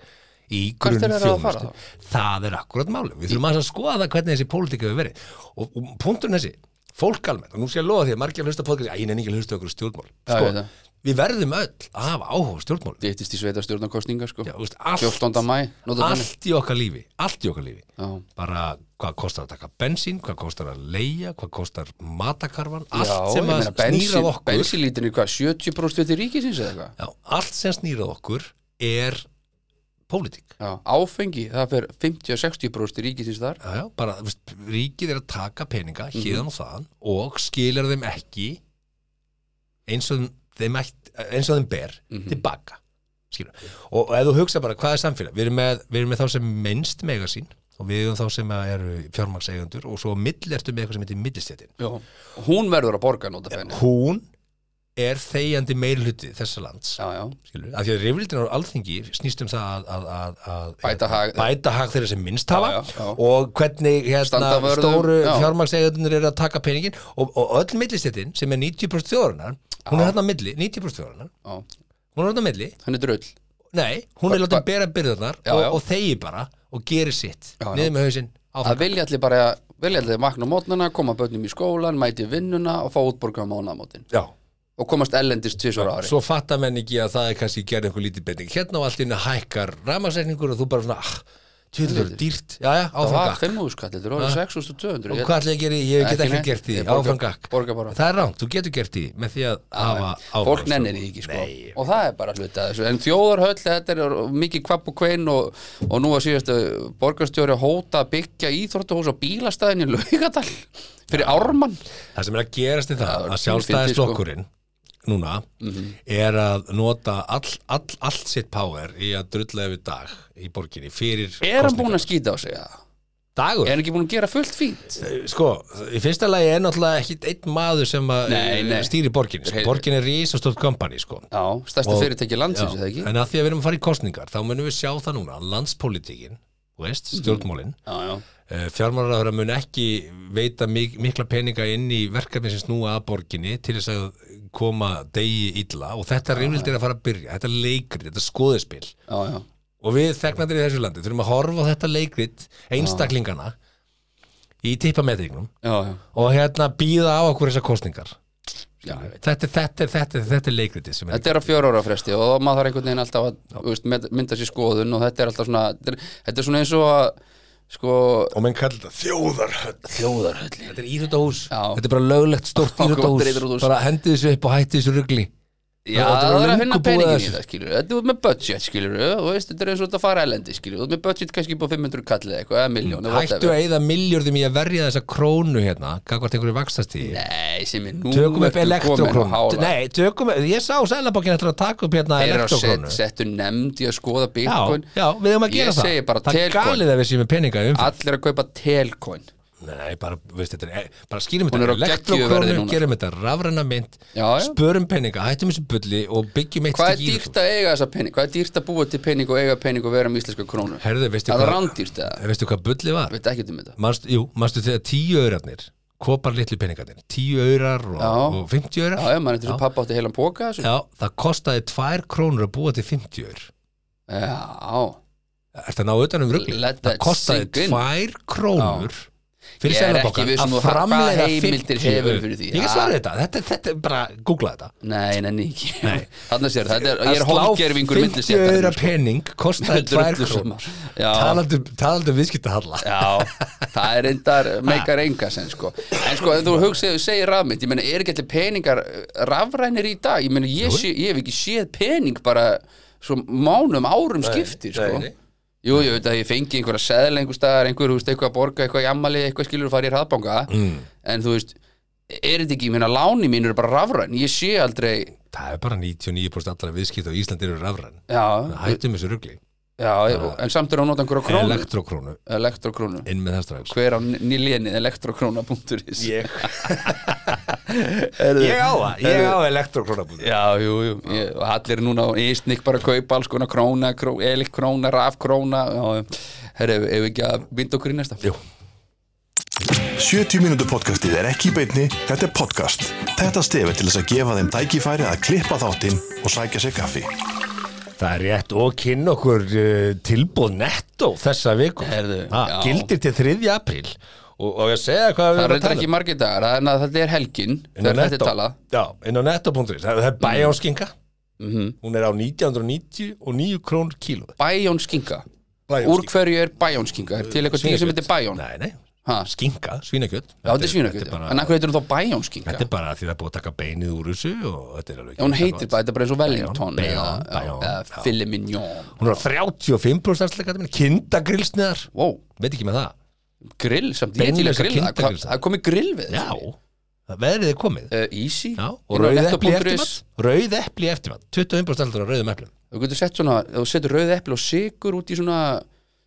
Speaker 3: í
Speaker 2: Hvert er þeir að fara
Speaker 3: grunnþjónustu það er akkurat máli, við þurfum aðeins að skoða það hvernig þessi pólitík hefur verið og, og punkturinn þessi, fólk almennt og nú sé ég lofa því að margir að hlusta podcast að ég nefn ekki að hlusta okkur á stjórnmál
Speaker 2: Já,
Speaker 3: sko,
Speaker 2: ég veit það.
Speaker 3: við verðum öll að hafa áhuga á stjórnmál
Speaker 2: dýttist í sveita sko
Speaker 3: Já, þú veist, allt,
Speaker 2: 14. maí, nota þannig.
Speaker 3: allt í okkar lífi allt í okkar lífi
Speaker 2: Já.
Speaker 3: bara hvað kostar að taka bensín hvað kostar að leia, hvað kostar matakarfan allt
Speaker 2: Já, ég
Speaker 3: sem að
Speaker 2: meina,
Speaker 3: snýra
Speaker 2: bensín-
Speaker 3: að okkur
Speaker 2: bensínlítrinn er hvað, 70% til ríkisins eða eitthvað
Speaker 3: já, allt sem snýra að okkur er pólitík
Speaker 2: Já, áfengi, það fer 50-60% til ríkisins þar
Speaker 3: já, já, bara, þú veist, ríkið er að taka peninga hérðan og þaðan og skilar þeim ekki eins og þeim, ætt, eins og þeim ber tilbaka Skilur. og og ef þú hugsa bara hvað er samfélag við erum með, við erum með þá sem minnst mega sín og við erum þá sem að eru fjármagseigundur og svo á milli ertu með eitthvað sem heitir millistjættin
Speaker 2: Já. Hún verður að borga nota fenni
Speaker 3: hún er þegjandi meirhluti þessa lands
Speaker 2: Já, já,
Speaker 3: skilur, af því að rifrildin á alþingi snýst um það að, að, að, að hérna,
Speaker 2: Bæta hag-
Speaker 3: bæta hag þeirra sem minnst hafa
Speaker 2: Já, já, já.
Speaker 3: og hvernig hérna,
Speaker 2: Standa vörðum,
Speaker 3: stóru
Speaker 2: já.
Speaker 3: fjármagseigunir eru að taka peningin og, og öll millistettin sem er 90% þjóðarinnar hún er hérna á milli, 90% þjóðarinnar
Speaker 2: já
Speaker 3: hún er hérna á milli,
Speaker 2: Hann er drull
Speaker 3: nei, hún er látið bera byrðarnar
Speaker 2: Já, já.
Speaker 3: og, og þegi bara og gerir sitt
Speaker 2: Já, já.
Speaker 3: niður með hausinn áfram
Speaker 2: Það vilja allir bara, vilja allir vakna á mótnana koma börnum í skólan, mæti vinnuna og fá útborga á mánamótin
Speaker 3: já.
Speaker 2: og komast ellendist tvisvar á ári
Speaker 3: svo fattar menn ekki að það er kannski gerð einhver lítið betning hérna og allt inni hækkar rafmagnsreikningur og þú bara svona, ah, tjóður, dýrt já, já,
Speaker 2: Það
Speaker 3: áfram
Speaker 2: var
Speaker 3: gakk
Speaker 2: 5.000 kall, þetta er orðið 6.200
Speaker 3: Og
Speaker 2: Ég-
Speaker 3: hvað ætla ég að gera í, því? ég get
Speaker 2: Ekki
Speaker 3: ekki
Speaker 2: neitt.
Speaker 3: gert í
Speaker 2: Ég borga-
Speaker 3: áframgakk
Speaker 2: borga bara.
Speaker 3: Það er rámt, þú getur gert í því með því að hafa áhuga
Speaker 2: Fólk
Speaker 3: á
Speaker 2: nennir því
Speaker 3: stjórnmálum.
Speaker 2: ekki sko og það er bara hluta af þessu en þjóðarhöll, þetta er mikið kvapp og kvein og, og nú að síðast borgarstjóri að hóta að byggja íþróttahús á bílastæðin í Laugadal fyrir ármann
Speaker 3: Það sem er að gerast í það,
Speaker 2: Það
Speaker 3: að
Speaker 2: var
Speaker 3: sjálfstæðislokkurinn
Speaker 2: sko.
Speaker 3: núna
Speaker 2: Mhm.
Speaker 3: er að nota all, all, allt sitt power í að drulla yfir dag í borginni fyrir
Speaker 2: Er hann búin að skýta á sig það?
Speaker 3: dagur?
Speaker 2: Er hann ekki búin að gera fullt fínt?
Speaker 3: Sko, í fyrsta lagi er náttúrulega ekki einn maður sem að
Speaker 2: Nei, nei.
Speaker 3: stýri borginni sko.
Speaker 2: Heyrðu.
Speaker 3: Borgin er risastórt kompani sko.
Speaker 2: Já, stærsta
Speaker 3: Og-
Speaker 2: fyrirtæki landsins, eða ekki?
Speaker 3: En að því að við erum að fara í kostningar þá munum við sjá það núna, landspolítikin veist,
Speaker 2: Mhm.
Speaker 3: stjórnmálin
Speaker 2: Já, já,
Speaker 3: fjármálaráður Eh, mun ekki veita mik mikla peninga inn í verkefni sem snúa að borginni til þess að koma degi illa og þetta reynild er að fara að byrja, þetta er leikrit, þetta er skoðuspil
Speaker 2: já, já.
Speaker 3: og við þegnandir í þessu landi þurfum að horfa á þetta leikrit einstaklingana í tippametrignum
Speaker 2: já, já.
Speaker 3: og hérna býða á okkur þessar kostningar
Speaker 2: Já, ég veit.
Speaker 3: þetta, er- þetta, er- þetta, er- þetta er leikritið sem er
Speaker 2: Þetta er á fjóra ára fresti og þá maður þarf einhvern veginn alltaf að þú veist, met- mynda sér skoðun og þetta er alltaf svona þetta er, þetta er svona eins og að sko,
Speaker 3: og menn kallar þetta þjóðarhöll
Speaker 2: þjóðarhöllin
Speaker 3: þetta er íþjóttahús,
Speaker 2: Já.
Speaker 3: þetta er bara löglegt stórt
Speaker 2: Okkur vantar
Speaker 3: íþjóttahús,
Speaker 2: íþróttahús.
Speaker 3: bara hendi þessu upp og hætti þessu rugli
Speaker 2: Já,
Speaker 3: Þetta er
Speaker 2: það er að
Speaker 3: löngu
Speaker 2: finna
Speaker 3: búið að
Speaker 2: peningin í
Speaker 3: þessu.
Speaker 2: það, skilur Þetta er með budget, skilur og veist, þetta er eins og þetta fara elendi, skilur Þú ert með budget kannski búið 500 kall eða eitthvað, eða miljón eða
Speaker 3: Mm, Hættu
Speaker 2: whatever.
Speaker 3: að eyða miljörðum í að verja þessa krónu hérna Gagvart einhverju vakstastíði
Speaker 2: Nei, sem er nú
Speaker 3: Tökum upp
Speaker 2: ertu komin á
Speaker 3: elektrokrónu
Speaker 2: hála.
Speaker 3: Nei, tökum upp, ég sá sælabokkin eftir að taka upp hérna
Speaker 2: Þeir eru að set,
Speaker 3: elektrokrónu
Speaker 2: settu nefnd í að skoða
Speaker 3: Já,
Speaker 2: bitcoin
Speaker 3: já, við höfum að
Speaker 2: Ég
Speaker 3: gera það
Speaker 2: segi bara
Speaker 3: Það er
Speaker 2: telcoin.
Speaker 3: galið um að við séum með peninga í umfram
Speaker 2: Allir að kaupa telcoin
Speaker 3: Nei, bara, veist, þetta er, eh, bara skýrum
Speaker 2: Hún er
Speaker 3: þetta
Speaker 2: á geggjuverði
Speaker 3: elektrokrónu
Speaker 2: núna.
Speaker 3: Gerum þetta rafræna mynd
Speaker 2: Já, já.
Speaker 3: Spörum peninga, hættum þessu bulli og byggjum eitt
Speaker 2: Hvað er
Speaker 3: stykki íþróttahús.
Speaker 2: dýrt að eiga þessa pening? Hvað er dýrt að búa til pening og eiga pening og vera með íslenska krónu?
Speaker 3: Herðu, Eh, veistu
Speaker 2: Það er
Speaker 3: hvað
Speaker 2: rándýrt eða?
Speaker 3: Veistu hvað bulli var?
Speaker 2: Veit ekki um þetta
Speaker 3: Manstu, jú, manstu þegar tíu öðrarnir kopar litlu peningarnir, 10 aurar og,
Speaker 2: Já.
Speaker 3: og 50 aurar
Speaker 2: já, já, maður þetta er svo pappa átti heilan póka af þessu.
Speaker 3: Já, það kostaði 2 krónur að búa til 50 aur
Speaker 2: Já,
Speaker 3: Er það ná utan um ruggli?
Speaker 2: Let
Speaker 3: Það
Speaker 2: that
Speaker 3: kostaði
Speaker 2: sink in.
Speaker 3: 2 krónur fyrir
Speaker 2: Ég er
Speaker 3: Seðlabankann
Speaker 2: ekki viss um
Speaker 3: að
Speaker 2: þú- hva- hvaða
Speaker 3: framleiða
Speaker 2: heimildir
Speaker 3: 50
Speaker 2: hefur
Speaker 3: aur.
Speaker 2: fyrir því. Ah.
Speaker 3: Ég
Speaker 2: Ja.
Speaker 3: get svarið þetta, þetta, þetta er bara, googla þetta
Speaker 2: nei, nenni ekki Þannig sér, þetta er,
Speaker 3: Að
Speaker 2: ég er
Speaker 3: slá
Speaker 2: hólgerfingur
Speaker 3: 50
Speaker 2: millistéttarinnar,
Speaker 3: eura
Speaker 2: sko.
Speaker 3: pening kostaði 2
Speaker 2: Drullu
Speaker 3: krónur
Speaker 2: sumar. Já.
Speaker 3: talandi talandi um viðskiptahalla
Speaker 2: Já, það er reyndar meikar enga sem sko En sko, en þú hugsið, þú segir rafmynd Ég meina, er ekki allir peningar eh, rafrænir í dag Ég meina, ég, sé, ég hef ekki séð pening bara svo mánum árum skipti sko
Speaker 3: nei.
Speaker 2: Jú, ég veit að ég fengi einhverja seðla einhver staðar, einhver, þú veist, eitthvað að borga, eitthvað í ammali, eitthvað skilur að fara í hraðbanga mm.
Speaker 3: Hmm.
Speaker 2: En þú veist, er þetta ekki, ég meina, láni mín eru bara rafræn Ég sé aldrei,
Speaker 3: það er bara 99% allra viðskipta á Íslandi eru rafræn
Speaker 2: já,
Speaker 3: hættum þessu ruggli
Speaker 2: já, en samt er að nota einhverja krónu
Speaker 3: elektrokrónu,
Speaker 2: Elektrokrónu,
Speaker 3: inn með það strax
Speaker 2: hver á nýlénið, elektrokróna.is
Speaker 3: ég,
Speaker 2: Heyrðu,
Speaker 3: ég á það, ég á elektrokrónu
Speaker 2: Já, jú, jú, ég, og allir núna á ísnik bara að kaupa alls konar króna, kró, elikkróna, rafkróna og herri, ef við ekki að vinda okkur í næsta
Speaker 3: Jú.
Speaker 1: 70 mínútu podcastið er ekki í beinni, þetta er podcast. Þetta stefið til þess að gefa þeim tækifæri að klippa þáttinn og sækja sér kaffi.
Speaker 3: það er rétt og kynna okkur uh, tilbúð netto þessa viku
Speaker 2: Heyrðu, já.
Speaker 3: gildir til 3. apríl og, og ég að segja hvað
Speaker 2: Það er
Speaker 3: við erum að
Speaker 2: reyndar
Speaker 3: tala
Speaker 2: ekki
Speaker 3: um
Speaker 2: margir dagar, þannig að þetta er helgin
Speaker 3: Inn á
Speaker 2: þegar þetta er
Speaker 3: Netto.
Speaker 2: talað Mm.
Speaker 3: já, inn á netto.is, það það er bæjánskinga
Speaker 2: Mhm.
Speaker 3: hún er á 1990 og 9 krónur kíló
Speaker 2: Bæjón skinka, úr
Speaker 3: Bæjónskinga.
Speaker 2: hverju er bæjón skinka? Er til eitthvað dýr sem heitir bæjón?
Speaker 3: nei, nei,
Speaker 2: Ha,
Speaker 3: skinga, svínakjöt
Speaker 2: já, þetta er svínakjöld, en
Speaker 3: þetta er bara,
Speaker 2: af hverju heitir hún þá bæjón skinka?
Speaker 3: þetta er bara því það er búið að taka beinið úr þessu og þetta er alveg
Speaker 2: Já, hún heitir bara, þetta er bara eins og Wellington
Speaker 3: Bayonne,
Speaker 2: eða-
Speaker 3: Bayonne,
Speaker 2: eða
Speaker 3: já.
Speaker 2: filet mignon
Speaker 3: hún er á 35% afslækka kindagrilsniðar,
Speaker 2: Wow,
Speaker 3: veit ekki með það
Speaker 2: grill samt, ég til að
Speaker 3: Beinlausa
Speaker 2: grilla, það
Speaker 3: kindagrilsa.
Speaker 2: það er komið grill við
Speaker 3: já, það veðrið er komið
Speaker 2: Uh, easy
Speaker 3: Já, og
Speaker 2: Inn á
Speaker 3: rauð epli
Speaker 2: netto.is.
Speaker 3: eftirmann Rauð epli eftirmann 25% heldur á rauðum eplum
Speaker 2: þú getur sett svona, ef þú setur rauð eppil og sigur út í svona,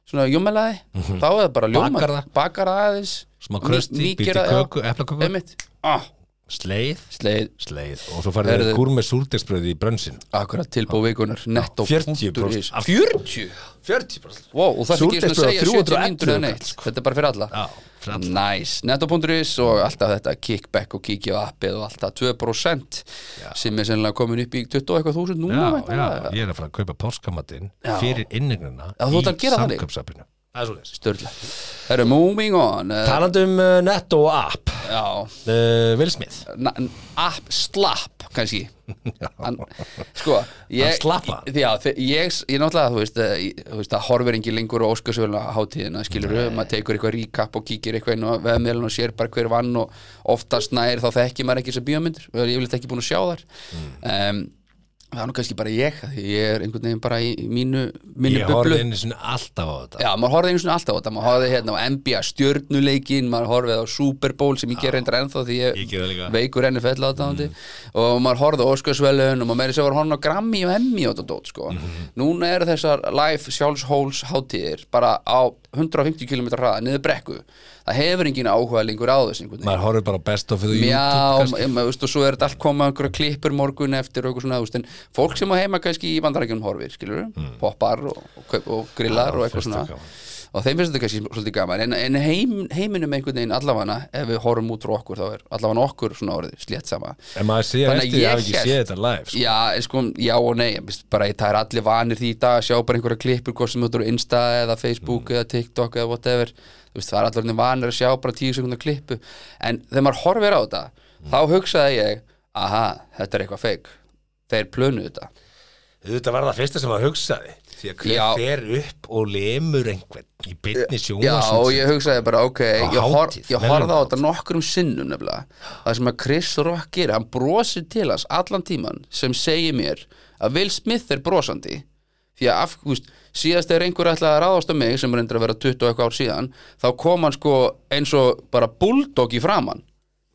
Speaker 2: svona jómelaði þá er það bara ljóma,
Speaker 3: Mhm. Bakar það.
Speaker 2: bakar það aðeins
Speaker 3: Smá krösti, býti köku, eplaköku
Speaker 2: emitt, ah,
Speaker 3: Sleið,
Speaker 2: sleið
Speaker 3: sleið Og svo farið
Speaker 2: Heyrðu.
Speaker 3: þið gúr með súrdegsbröði í brönsin
Speaker 2: akkurat tilbúið vikunar, netto
Speaker 3: 40% af-
Speaker 2: 40?
Speaker 3: 40%
Speaker 2: Wow, og það er ekki svona að
Speaker 3: Súrdeigsbrauð á
Speaker 2: segja 70 mínútur eða
Speaker 3: 311
Speaker 2: neitt þetta er bara fyrir alla
Speaker 3: Já, fyrir alla.
Speaker 2: Nice. netto.is og alltaf þetta kickback og kíkja á appið og alltaf 2% sem er sennilega komin upp í 20 og eitthvað þúsund núna
Speaker 3: Já, já,
Speaker 2: væntanlega.
Speaker 3: ég er að fara að kaupa páskamatinn
Speaker 2: Já.
Speaker 3: Fyrir innignuna
Speaker 2: Já, þú ert að
Speaker 3: Í
Speaker 2: gera þannig.
Speaker 3: samköpsapinu Það er svoleiðis
Speaker 2: Sturla. Herru, moving on uh,
Speaker 3: Talandum uh, netto og app
Speaker 2: Já,
Speaker 3: uh, Will Smith
Speaker 2: na, app slapp kannski hann, sko ég,
Speaker 3: Hann slapp hann?
Speaker 2: já, þe- ég, ég náttúrulega, þú veist, eh, ég- þú veist það horfir engin lengur á Óskarsvölinu hátíðina skilur við, maður tekur eitthvað recap og kíkir eitthvað inn á veðmiðlun og sér bara hver vann og oftast nær þá þekki maður ekki þessar bíómyndir og ég vil ekki búin að sjá þar mm. það er nú kannski bara ég af því ég er einhvern veginn bara í í mínu, mínu
Speaker 3: Ég
Speaker 2: bublu
Speaker 3: horfði einu sinni alltaf á þetta
Speaker 2: Já, maður horfði einu svona alltaf á þetta, maður horfði hérna á NBA stjörnuleikin, maður horfði á Super Bowl sem ég ger reyndar ennþá því ég,
Speaker 3: Ég geri það líka. Mm.
Speaker 2: veikur NFL aðdáðandi og maður horfði á Óskarsvelun og maður meiri sér var horfði á Grammy og Emmy og þetta dót sko.
Speaker 3: Mm -hmm.
Speaker 2: Núna eru þessar live sjálfshóls hátíðir bara á 150 km hraða niður brekku. Það hefur engin áhuga lengur á þessu einhvern veginn.
Speaker 3: Maður horfði bara á best of the
Speaker 2: Já, um,
Speaker 3: YouTube kannski.
Speaker 2: ma- maður, veist, og svo er þetta allt koma einhverja klippur morgun eftir og eitthvað svona, þú veist, en fólk sem á heima kannski í bandarækjunum horfir, skilur poppar og, og, kaup- og grillar
Speaker 3: Mm. Já,
Speaker 2: og eitthvað
Speaker 3: finnst
Speaker 2: svona
Speaker 3: það gaman.
Speaker 2: og þeim finnst þetta kannski svolítið gaman en, en heim, heiminum einhvern veginn allavana ef við horfum út frá okkur þá er allavega okkur svona orðið slétt sama
Speaker 3: En maður sé
Speaker 2: Þannig að
Speaker 3: eftir því
Speaker 2: ég
Speaker 3: að hafa ekki
Speaker 2: hélt-
Speaker 3: séð þetta live sko.
Speaker 2: Já, en sko, já og nei ég veist, bara, það er allir vanir því í dag að sjá bara einhverja klippur hvort sem þetta eru Insta eða Facebook
Speaker 3: Mm.
Speaker 2: eða TikTok eða whatever Þú veist, það er allir orðnir vanir að sjá bara tíu sekundar klippu en þegar maður horfir á þetta
Speaker 3: Mm.
Speaker 2: þá hugsaði ég, aha, þetta er eitthvað feik þeir plönuðu þetta
Speaker 3: Þetta var það fyrsta sem maður hugsaði Því að hver
Speaker 2: Já.
Speaker 3: fer upp og lemur einhvern í byrni
Speaker 2: Já, og ég
Speaker 3: sjónvarsins
Speaker 2: hugsaði bara, ok, ég, hor,
Speaker 3: hátíð,
Speaker 2: ég horfði á
Speaker 3: verðlaun-
Speaker 2: þetta nokkrum sinnum nefnilega það sem að Chris Rock gerir, hann brosir til hans allan tíman sem segir mér að Will Smith er brosandi því að af, þú veist, síðast er einhver ætlaði að ráðast á mig sem er endur að vera 20 og eitthvað ár síðan þá kom hann sko eins og bara bulldog í framann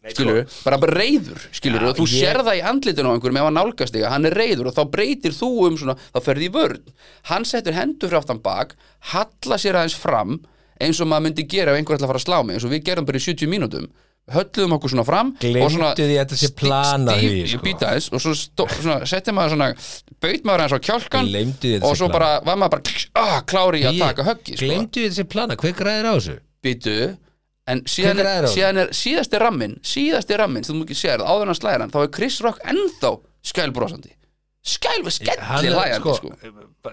Speaker 2: skilur, bara bara reyður skilur,
Speaker 3: sko. Já,
Speaker 2: og þú
Speaker 3: ég-
Speaker 2: sér það í andlitinu á einhverjum ef hann nálgast þig, að hann er reyður og þá breytir þú um svona, þá ferði í vörn hann settur hendur frá aftan bak halla sér aðeins fram eins og maður myndi gera ef einhver ætla að fara að slá mig eins og við gerum bara í 70 mínútum hölluðum okkur svona fram
Speaker 3: Gleymdu
Speaker 2: og svona
Speaker 3: því að þetta sé
Speaker 2: stí-
Speaker 3: planað
Speaker 2: stíf-
Speaker 3: í,
Speaker 2: ég
Speaker 3: sko.
Speaker 2: býta aðeins og svo, stó, svona, setti maður svona baut maður aðeins á kjálkan
Speaker 3: Gleymdu því að þetta
Speaker 2: og
Speaker 3: sé
Speaker 2: svo bara var maður bara ah, klári í að
Speaker 3: Ég-
Speaker 2: taka höggi sko.
Speaker 3: Gleymdu þið þessi plana, hver græðir á þessu?
Speaker 2: býtu en síðan
Speaker 3: Hver er
Speaker 2: er,
Speaker 3: það?
Speaker 2: síðan er síðasti rammin síðasti rammin sem þú ekki sér áður en að slæðir hann þá er Chris Rock ennþá skælbrósandi skælvi
Speaker 3: Eh, Hann
Speaker 2: skelli
Speaker 3: er,
Speaker 2: hlæjandi
Speaker 3: sko,
Speaker 2: sko,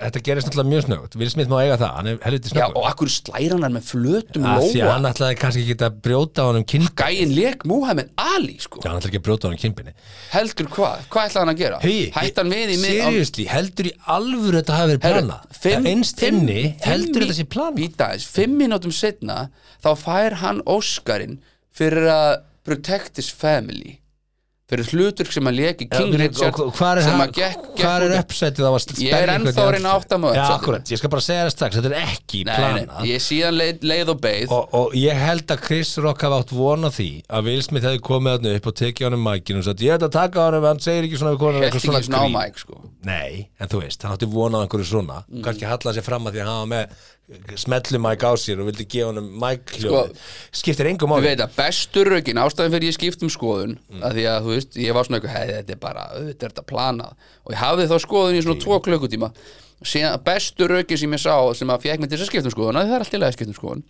Speaker 3: Þetta gerist náttúrulega mjög snögt Will Smith má eiga það, hann er helviti
Speaker 2: Já,
Speaker 3: snöggur
Speaker 2: og akkur slæðir hann hann með flötum
Speaker 3: Af Því að
Speaker 2: lóa
Speaker 3: Ah, hann ætlaði kannski ekki að brjóta á honum kynbinni
Speaker 2: gæin leik Muhammed Ali sko.
Speaker 3: Hann ætlaði ekki að brjóta á honum kynbinni
Speaker 2: heldur hvað, hvað ætlaði hann að gera
Speaker 3: Hugi,
Speaker 2: hætti hann við í mið á-
Speaker 3: Seriously, heldur í alvöru þetta hafi verið
Speaker 2: Herru,
Speaker 3: planað Það Einst inni, heldur þetta sé planað
Speaker 2: Býta aðeins, fimm mínútum setna þá fær hann Óskarinn fyrir að protect his family fyrir hlutur sem hann lék í King Richard
Speaker 3: Hvað er,
Speaker 2: sem
Speaker 3: hann-
Speaker 2: að gekk, gekk
Speaker 3: hvar er
Speaker 2: út-
Speaker 3: uppsætið á að spenna
Speaker 2: Ég er
Speaker 3: einhvern
Speaker 2: ennþá
Speaker 3: í
Speaker 2: að reyna að átta mig á
Speaker 3: andlitið? Já,
Speaker 2: uppsætinu.
Speaker 3: akkurat, ég skal bara segja það strax Þetta er ekki
Speaker 2: Nei, nei,
Speaker 3: planað
Speaker 2: Ég síðan leið, leið og beið
Speaker 3: og, og ég held að Chris Rock hafði átt von á því að Will Smith hefði komið hann upp og tekið hann um mækinu og sagt ég ætla að taka hann ef hann segir ekki svona við konar
Speaker 2: Helt ekki svona á Mike sko
Speaker 3: Nei, en þú veist, hann átti von á einhverju svona
Speaker 2: Mm.
Speaker 3: kannski hallaði sér fram að því að hann var með smetlu mæk á sér og vildi gefa hann um mæk hljóð skiptir engum
Speaker 2: Þú
Speaker 3: máli
Speaker 2: Sko, veit að bestu rökin, ástæðan fyrir ég skipt um skoðun að því að þú veist, ég var svona eitthvað "Hey, þetta er bara, auðvitað er þetta planað og ég hafði þá skoðun í svona tvo klukkutíma síðan bestu rökin sem ég sá sem að fekk mig til þess að skipta um skoðun, af því það er allt í lagi að skipta um skoðun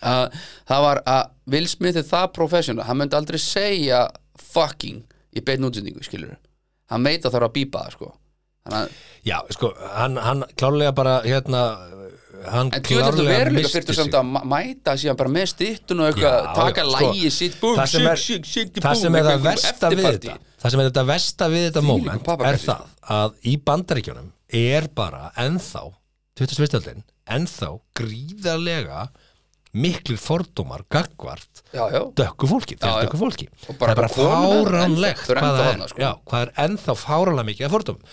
Speaker 2: að það var að Will Smith er það professional, hann myndi aldrei segja fucking í beinn útsendingu, skilur hann veit að það er að bípa það, sko Þannig að,
Speaker 3: Já, sko, hann, hann klálega bara hérna, hann
Speaker 2: en tjóðlega þetta
Speaker 3: klárlega
Speaker 2: veruleika
Speaker 3: missti
Speaker 2: fyrir
Speaker 3: sig.
Speaker 2: samt að ma- mæta síðan bara með styttun og
Speaker 3: Já,
Speaker 2: eitthvað, taka
Speaker 3: já, sko,
Speaker 2: lægi sitt, búm,
Speaker 3: það sem
Speaker 2: sík,
Speaker 3: er-
Speaker 2: sík, sík,
Speaker 3: það sem er það versta við þetta það sem er þetta versta við þetta
Speaker 2: Þvílíkur
Speaker 3: moment er
Speaker 2: pappakassi.
Speaker 3: það að í bandaríkjunum er bara ennþá 2001. ennþá gríðarlega miklir fordómar gagvart
Speaker 2: já, já,
Speaker 3: dökku fólki,
Speaker 2: Já, já.
Speaker 3: dökku fólki.
Speaker 2: Og
Speaker 3: það
Speaker 2: bara
Speaker 3: er bara
Speaker 2: konurnar
Speaker 3: fáranlegt
Speaker 2: ennþá- þau eru ennþá
Speaker 3: hvað, það
Speaker 2: þarna,
Speaker 3: er-
Speaker 2: sko.
Speaker 3: já, hvað er ennþá fáranlega mikið af fordómum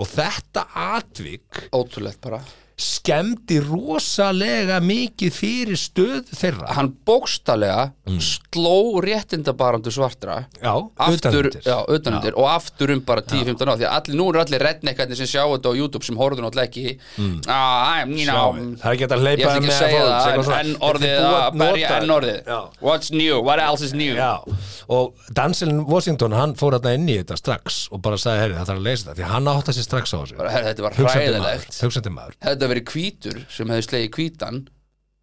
Speaker 3: og þetta atvik
Speaker 2: ótrúlegt bara
Speaker 3: skemmdi rosalega mikið fyrir stöð þeirra
Speaker 2: hann bókstallega sló réttindabarandu svartra
Speaker 3: Mm. já,
Speaker 2: aftur,
Speaker 3: utanundir.
Speaker 2: já, utanundir og aftur um bara 10-15 ára því að allir, nú eru allir redneckarnir sem sjá þetta á YouTube sem horfðu náttúrulega ekki mm. ah, I'm, you
Speaker 3: Já,
Speaker 2: know,
Speaker 3: það er ekki hægt að hleypa
Speaker 2: ég ætla ekki að
Speaker 3: þeim með
Speaker 2: segja
Speaker 3: fólks, eitthvað
Speaker 2: það
Speaker 3: svona.
Speaker 2: en
Speaker 3: Þetta
Speaker 2: orðið,
Speaker 3: er búið
Speaker 2: að
Speaker 3: að
Speaker 2: berja
Speaker 3: nota-
Speaker 2: en orðið
Speaker 3: Já.
Speaker 2: what's new, what else is new
Speaker 3: Já, og Danselin Washington, hann fór hérna inn í þetta strax og bara sagði, herri, það þarf að leysa þetta, því hann átta sér strax á þessu.
Speaker 2: Bara, herri, þetta var
Speaker 3: Hugsandi
Speaker 2: hræðilegt.
Speaker 3: maður, Hugsandi maður.
Speaker 2: hefði þetta verið hvítur sem hefði slegið hvítan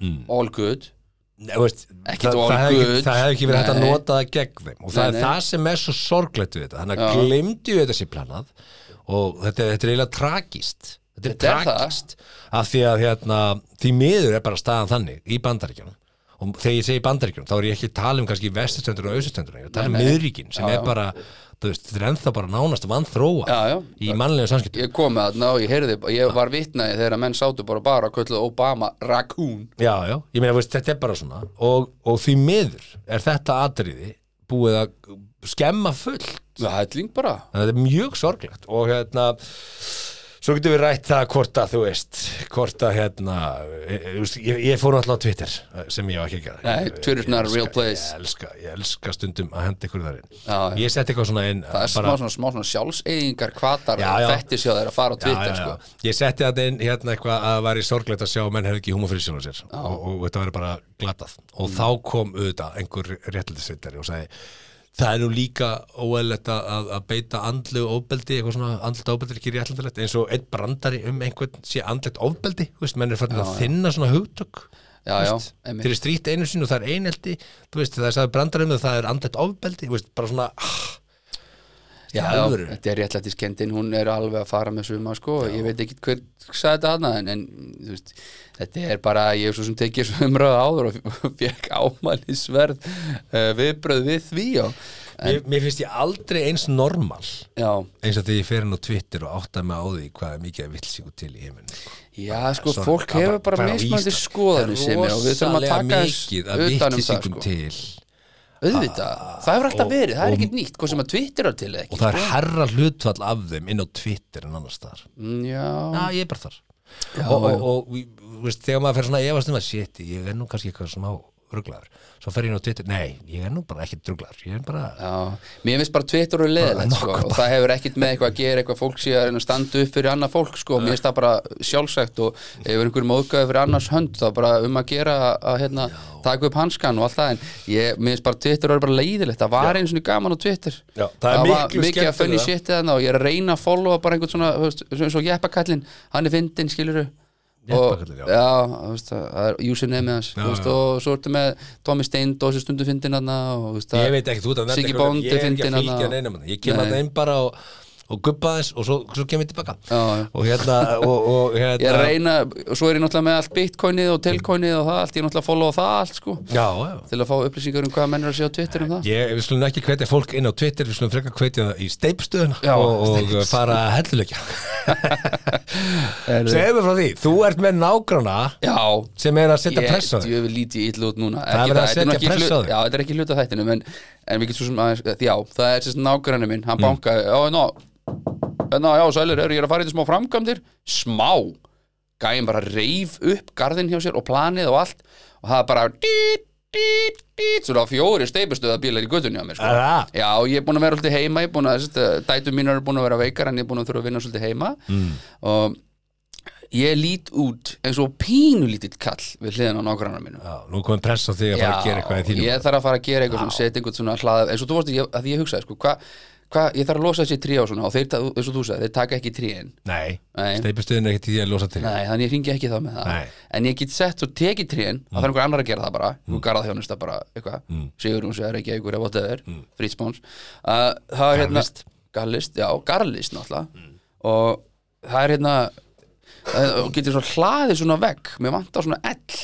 Speaker 3: Mm.
Speaker 2: all good
Speaker 3: Nei, þú veist,
Speaker 2: Ekkit
Speaker 3: það,
Speaker 2: all
Speaker 3: það, hefði ekki,
Speaker 2: good.
Speaker 3: það hefði ekki verið hægt að
Speaker 2: Nei.
Speaker 3: nota það gegn þeim og það
Speaker 2: Nei,
Speaker 3: er
Speaker 2: nei.
Speaker 3: það sem er svo sorglegt við þetta þannig að
Speaker 2: Já.
Speaker 3: glemdi við þetta sér planað og þetta, er- þetta er eiginlega tragist þetta er
Speaker 2: Þetta er það.
Speaker 3: tragist af því að hérna, því miður er bara staðan þannig í bandaríkjunum og þegar ég segi bandaríkjunum þá er ég ekki að tala um kannski vestustendur og austustendur ég er að tala um miðríkin sem er bara þú veist, þetta er ennþá bara nánast vannþróa
Speaker 2: Já, já.
Speaker 3: í mannlegu samskiptum
Speaker 2: ég kom með þarna og ég heyrði ég var vitnaði þegar að menn sátu bara bara að kölluðu Obama raccoon
Speaker 3: Já, já, ég meina, veist, þetta er bara svona og, og því miður er þetta atriði búið að skemma fullt
Speaker 2: það er helling bara
Speaker 3: þannig að þetta er mjög sorglegt og hérna svo getum við rætt það hvort að þú veist hvort að hérna ég, ég, ég fór alltaf á Twitter eh, sem ég á ekki að gera
Speaker 2: Nei,
Speaker 3: Ég- ég-
Speaker 2: Twitter's not a
Speaker 3: ég
Speaker 2: real
Speaker 3: elska-
Speaker 2: place.
Speaker 3: ég elska, ég elska stundum að henda ykkur þar inn
Speaker 2: Já, já.
Speaker 3: ég setti eitthvað svona inn
Speaker 2: það er smá svona, smá svona sjálfseyðingar kvatar
Speaker 3: Já, já.
Speaker 2: fættis hjá þeir að fara á Twitter
Speaker 3: já, já,
Speaker 2: sko.
Speaker 3: já. ég setti þetta inn hérna eitthvað að það væri sorglegt að sjá að menn hefði ekki húma fyrir sjálfum sér og, og þetta væri bara glatað
Speaker 2: Mm.
Speaker 3: og þá kom auðvitað einhver réttlætisvitari og sagði það er nú líka óæðilegt að, að- að beita andlu ofbeldi, eitthvað svona andlut ofbeldi er ekki réttlætilegt eins og einn brandari um einhvern sé andlut ofbeldi, þú veist, menn er farin að þinna svona hugtök
Speaker 2: Já,
Speaker 3: þú
Speaker 2: já,
Speaker 3: veist.
Speaker 2: einmitt.
Speaker 3: þeir eru strýtt einu sinni og það er eineldi þú veist, það er sagði brandari um það, það er andlut ofbeldi, þú veist, bara svona ah,
Speaker 2: Já, já, þetta er réttlættiskendin, hún er alveg að fara með suma sko, ég veit ekki hver sagði þetta hana, en, en þú veist, þetta er bara, ég er svo sem tekið svo umröða áður og fekk ámæli sverð uh, viðbröð við því og,
Speaker 3: mér, mér finnst ég aldrei eins normal
Speaker 2: já,
Speaker 3: eins og þegar ég fer inn á Twitter og átta mig á því hvað er mikið að villsíku til í heiminn
Speaker 2: já, sko,
Speaker 3: Sorry,
Speaker 2: fólk
Speaker 3: það
Speaker 2: hefur bara
Speaker 3: á
Speaker 2: mismandi
Speaker 3: Íslandi.
Speaker 2: skoðanir sem er og við þurfum að
Speaker 3: rosalega
Speaker 2: taka
Speaker 3: mikið
Speaker 2: þess utan
Speaker 3: að
Speaker 2: um það sko,
Speaker 3: villsíkum
Speaker 2: Ah,
Speaker 3: til
Speaker 2: auðvitað, það hefur alltaf
Speaker 3: og-
Speaker 2: verið, það
Speaker 3: og-
Speaker 2: er ekkit nýtt, hvað sem að Twitter er til eða
Speaker 3: og
Speaker 2: ekki,
Speaker 3: það er herra hlutfall af þeim inn á Twitter en annars þar
Speaker 2: Mm, Sko. já,
Speaker 3: Já, ég er bara þar og, og, og, og veist, þegar maður fer svona að efast um að shit, ég er nú kannski eitthvað smá ruglaður svo fer ég inn á Twitter, nei, ég er nú bara ekki ruglaður, ég er bara
Speaker 2: Já, mér finnst bara Twitter og leðilegt sko, og það hefur ekkit með eitthvað að gera eitthvað fólk sé að reyna að standa upp fyrir annað fólk sko, og mér finnst það bara sjálfsagt og ef er einhver móðgæði fyrir annars hönd þá bara um að gera að, að hérna, taka upp hanskan og allt það en ég, mér finnst bara Twitter er bara leiðilegt það var eins og gaman á Twitter
Speaker 3: Já, það er miklu
Speaker 2: var mikið að fönni
Speaker 3: skemmtilegra.
Speaker 2: sétti þannig og ég er að reyna að followa bara einhvern svona, þú veist, eins og jeppakallin hann er fyndin, skiluru og,
Speaker 3: Léttbakkallir, já.
Speaker 2: já, þú veist, það er username hans,
Speaker 3: Já,
Speaker 2: þú veist,
Speaker 3: já.
Speaker 2: og svo ertu með Tommy Steind og þessu stundu fyndin hann og, þú veist,
Speaker 3: ég
Speaker 2: það-
Speaker 3: veit ekki, þú ert að nefna
Speaker 2: Siggi
Speaker 3: einhverja-
Speaker 2: Bóndi
Speaker 3: ég er ekki
Speaker 2: fyndinn
Speaker 3: að fylgja
Speaker 2: þarna.
Speaker 3: neinum ég kem
Speaker 2: Nei.
Speaker 3: að þeim bara og, og guppa þess og svo, svo kem ég tilbaka
Speaker 2: Já, já.
Speaker 3: og hérna, og, og, hérna
Speaker 2: ég reyna, og svo er ég náttúrulega með allt bitcoinið og telcoinið og það allt, ég er náttúrulega að followa það allt sko
Speaker 3: já, já
Speaker 2: til að fá upplýsingar um hvað menn er að segja á Twitter um það
Speaker 3: Ég, við slum ekki hvetja fólk inn á Twitter, við slum frekar hvetja það í steipstöðuna
Speaker 2: Já,
Speaker 3: og, og
Speaker 2: steips.
Speaker 3: fara að helluleikja. Segðu mér frá því, þú ert með nágrana
Speaker 2: Já,
Speaker 3: sem er að setja
Speaker 2: ég,
Speaker 3: pressa á þig.
Speaker 2: ég vil lítið illa út núna
Speaker 3: Það er verið að
Speaker 2: þetta nú
Speaker 3: setja
Speaker 2: ekki
Speaker 3: pressu
Speaker 2: hlu-
Speaker 3: á þig.
Speaker 2: Já, þetta er ekki hluta þættinum en, en við getum svo sem aðeins Já, það er sérst nágrannu minn,
Speaker 3: Mm.
Speaker 2: hann bankaði Já, ná, ná, já, sælur, er ég er að fara í þetta smá framkvæmdir Smá Gæin bara reif upp garðin hjá sér og planið og allt og það er bara dít, dít, dít, Svona fjóri steipustöða bílar í göttunni á mér sko.
Speaker 3: Er það?
Speaker 2: Já, ég er búin að vera svolítið heima Ég er búin að, sérst, dætu mínar er búin að vera veikar en ég er búin að þurfa að vinna svolítið heima mm. og ég lít út eins og pínulítill kall við hliðin á nágrannar mínum
Speaker 3: Já, nú komum pressa á því að fara að gera eitthvað í þínum.
Speaker 2: ég þarf að fara að gera eitthvað svona, setja einhvern svona hlaða eins og þú varst, ég, að því ég hugsaði sko, hvað hva, ég þarf að losa þessi trí á svona og þeir, ta- eins og þú sagði, þeir taka ekki tríin
Speaker 3: Nei,
Speaker 2: Nei.
Speaker 3: steipstöðin er ekki til því að losa til.
Speaker 2: Nei, þannig ég ringi ekki þá með það
Speaker 3: Nei.
Speaker 2: En ég get sett og tekið tríin Það þarf einhver annar að gera það bara Einhver garðaþjónusta bara, eitthvað mm. Sigurún segir ekki einhverja, whatever mm. Fritspons uh, Það er hérna
Speaker 3: Garlist.
Speaker 2: Garlist, já, garlist náttúrulega Og það er hérna það- Og getur svo hlaðið svona vegg Mér vantar svona ell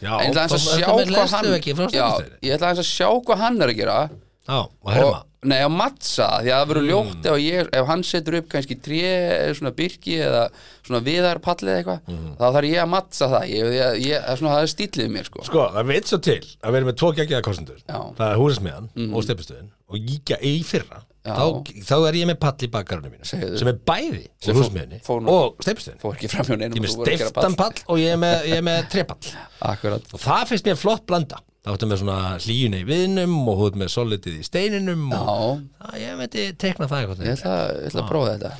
Speaker 3: Já,
Speaker 2: En ég ætla aðeins
Speaker 3: þá
Speaker 2: að
Speaker 3: ertu
Speaker 2: sjá hvað hann
Speaker 3: með leiðsluveggi frá
Speaker 2: Já,
Speaker 3: stofnustöðinni.
Speaker 2: Ég ætla aðeins að sjá hvað hann er að gera
Speaker 3: Já, og herma. Mm.
Speaker 2: og, Nei, að mattsa, því að það verður ljótt ef, ég, ef hann setur upp kannski tré eða svona byrki eða svona viðarpalli eða eitthvað,
Speaker 3: Mm.
Speaker 2: þá þarf ég að mattsa það ég, ég, ég, það er svona, það er stíllið mér sko.
Speaker 3: Sko, það veit svo til að við erum með tvo geggjaða kostendur
Speaker 2: Já. Mm.
Speaker 3: Það er húsasmiðan og steipustöðin og gíkja í fyrra
Speaker 2: Já.
Speaker 3: þá, þá er ég með pall í bakkarunum mínu
Speaker 2: Segðu.
Speaker 3: sem er bæði
Speaker 2: Sem
Speaker 3: úr
Speaker 2: fó-
Speaker 3: húsmiðinni
Speaker 2: fór nú-
Speaker 3: og steipustöðin
Speaker 2: fór ekki fram hjá
Speaker 3: Ég er
Speaker 2: neinum
Speaker 3: með
Speaker 2: þú voru að gera
Speaker 3: steiftan pall og ég er með, ég er með trepall
Speaker 2: Akkurat,
Speaker 3: og það finnst mér flott blanda þá ertu með svona hlýjuna í viðnum og þú ert með solidið í steininum og
Speaker 2: Já.
Speaker 3: það, ég veit tekna það eitthvað
Speaker 2: ég ætla, ég ætla að prófa þetta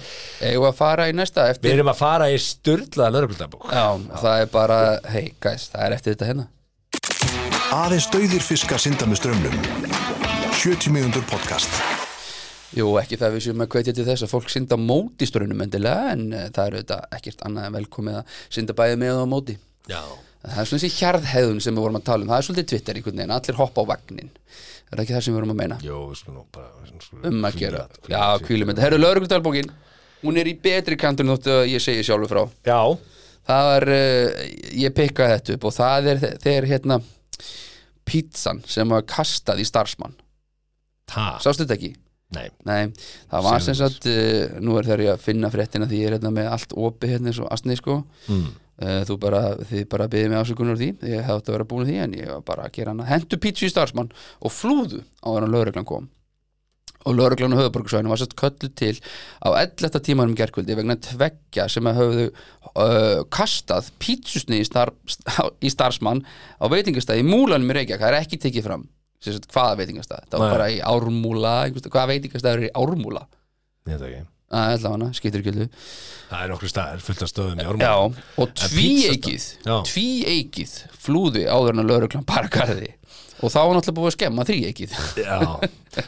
Speaker 2: Eigum við að fara í næsta
Speaker 3: Ah. Við
Speaker 2: eftir
Speaker 3: erum að fara í styrlaða lögreglundabók
Speaker 2: Já, það er bara, hei guys, það er eftir þetta hérna
Speaker 1: Aðeins dauðir fiskar synda með strömmnum 70 mínútur podcast
Speaker 2: Jú, ekki það við séum að hvetja til þess að fólk synda á móti strunum endilega en eh, það er auðvitað ekkert annað en velkomið að synda bæði með og á móti
Speaker 3: Já,
Speaker 2: Það er svona þessi hjarðhæðun sem við vorum að tala um, það er svolítið Twitter einhvern veginn, allir hoppa á vagnin. Er það ekki það sem við vorum að meina?
Speaker 3: jú, við skulum nú bara við skulum
Speaker 2: Um að
Speaker 3: hvíla-
Speaker 2: gera.
Speaker 3: hvíla
Speaker 2: Já,
Speaker 3: sig.
Speaker 2: kvílum þetta. Herru, laurugludalbókin, hún er í betri kantur þóttu að ég segi sjálfur frá.
Speaker 3: Já,
Speaker 2: Það var, uh, ég pikkaði þetta upp og það er þe- þegar hérna pizzan sem var kastað í starfsmann.
Speaker 3: það,
Speaker 2: Sástu þetta ekki?
Speaker 3: nei
Speaker 2: Nei, það var
Speaker 3: Segðu
Speaker 2: sem sagt, uh, nú er þegar ég að finna fréttina því ég er hérna með allt opið hérna eins og astni sko.
Speaker 3: mm.
Speaker 2: Eh, þú bara, þið bara byggði mig ásökunar á því ég hefði átt að vera búin að því en ég var bara að gera hana hendu pítsu í starfsmann og flúðu á hvernig lögreglan kom og lögreglan á höfuborgarsvæðinu var satt köllu til á 11. tímanum gerkvöldi vegna tveggja sem að höfðu uh, kastað pítsusni í, starf, í starfsmann á veitingastæði í múlanum í Reykjavík, það er ekki tekið fram sem sagt, hvaða veitingastæð, það var
Speaker 3: Nei.
Speaker 2: bara í ármúla einhvers- hvaða veitingastæður er í ármúla
Speaker 3: Ég veit það ekki
Speaker 2: að, allavega, skiptir ekki öllu
Speaker 3: Það er nokkru staðar, fullt af stöðum í orma
Speaker 2: Já, og
Speaker 3: En
Speaker 2: tvíeikið
Speaker 3: pizzastað, já.
Speaker 2: tvíeikið flúði áður en að lauruglan bara garði og þá var náttúrulega búið að skemma þríeikið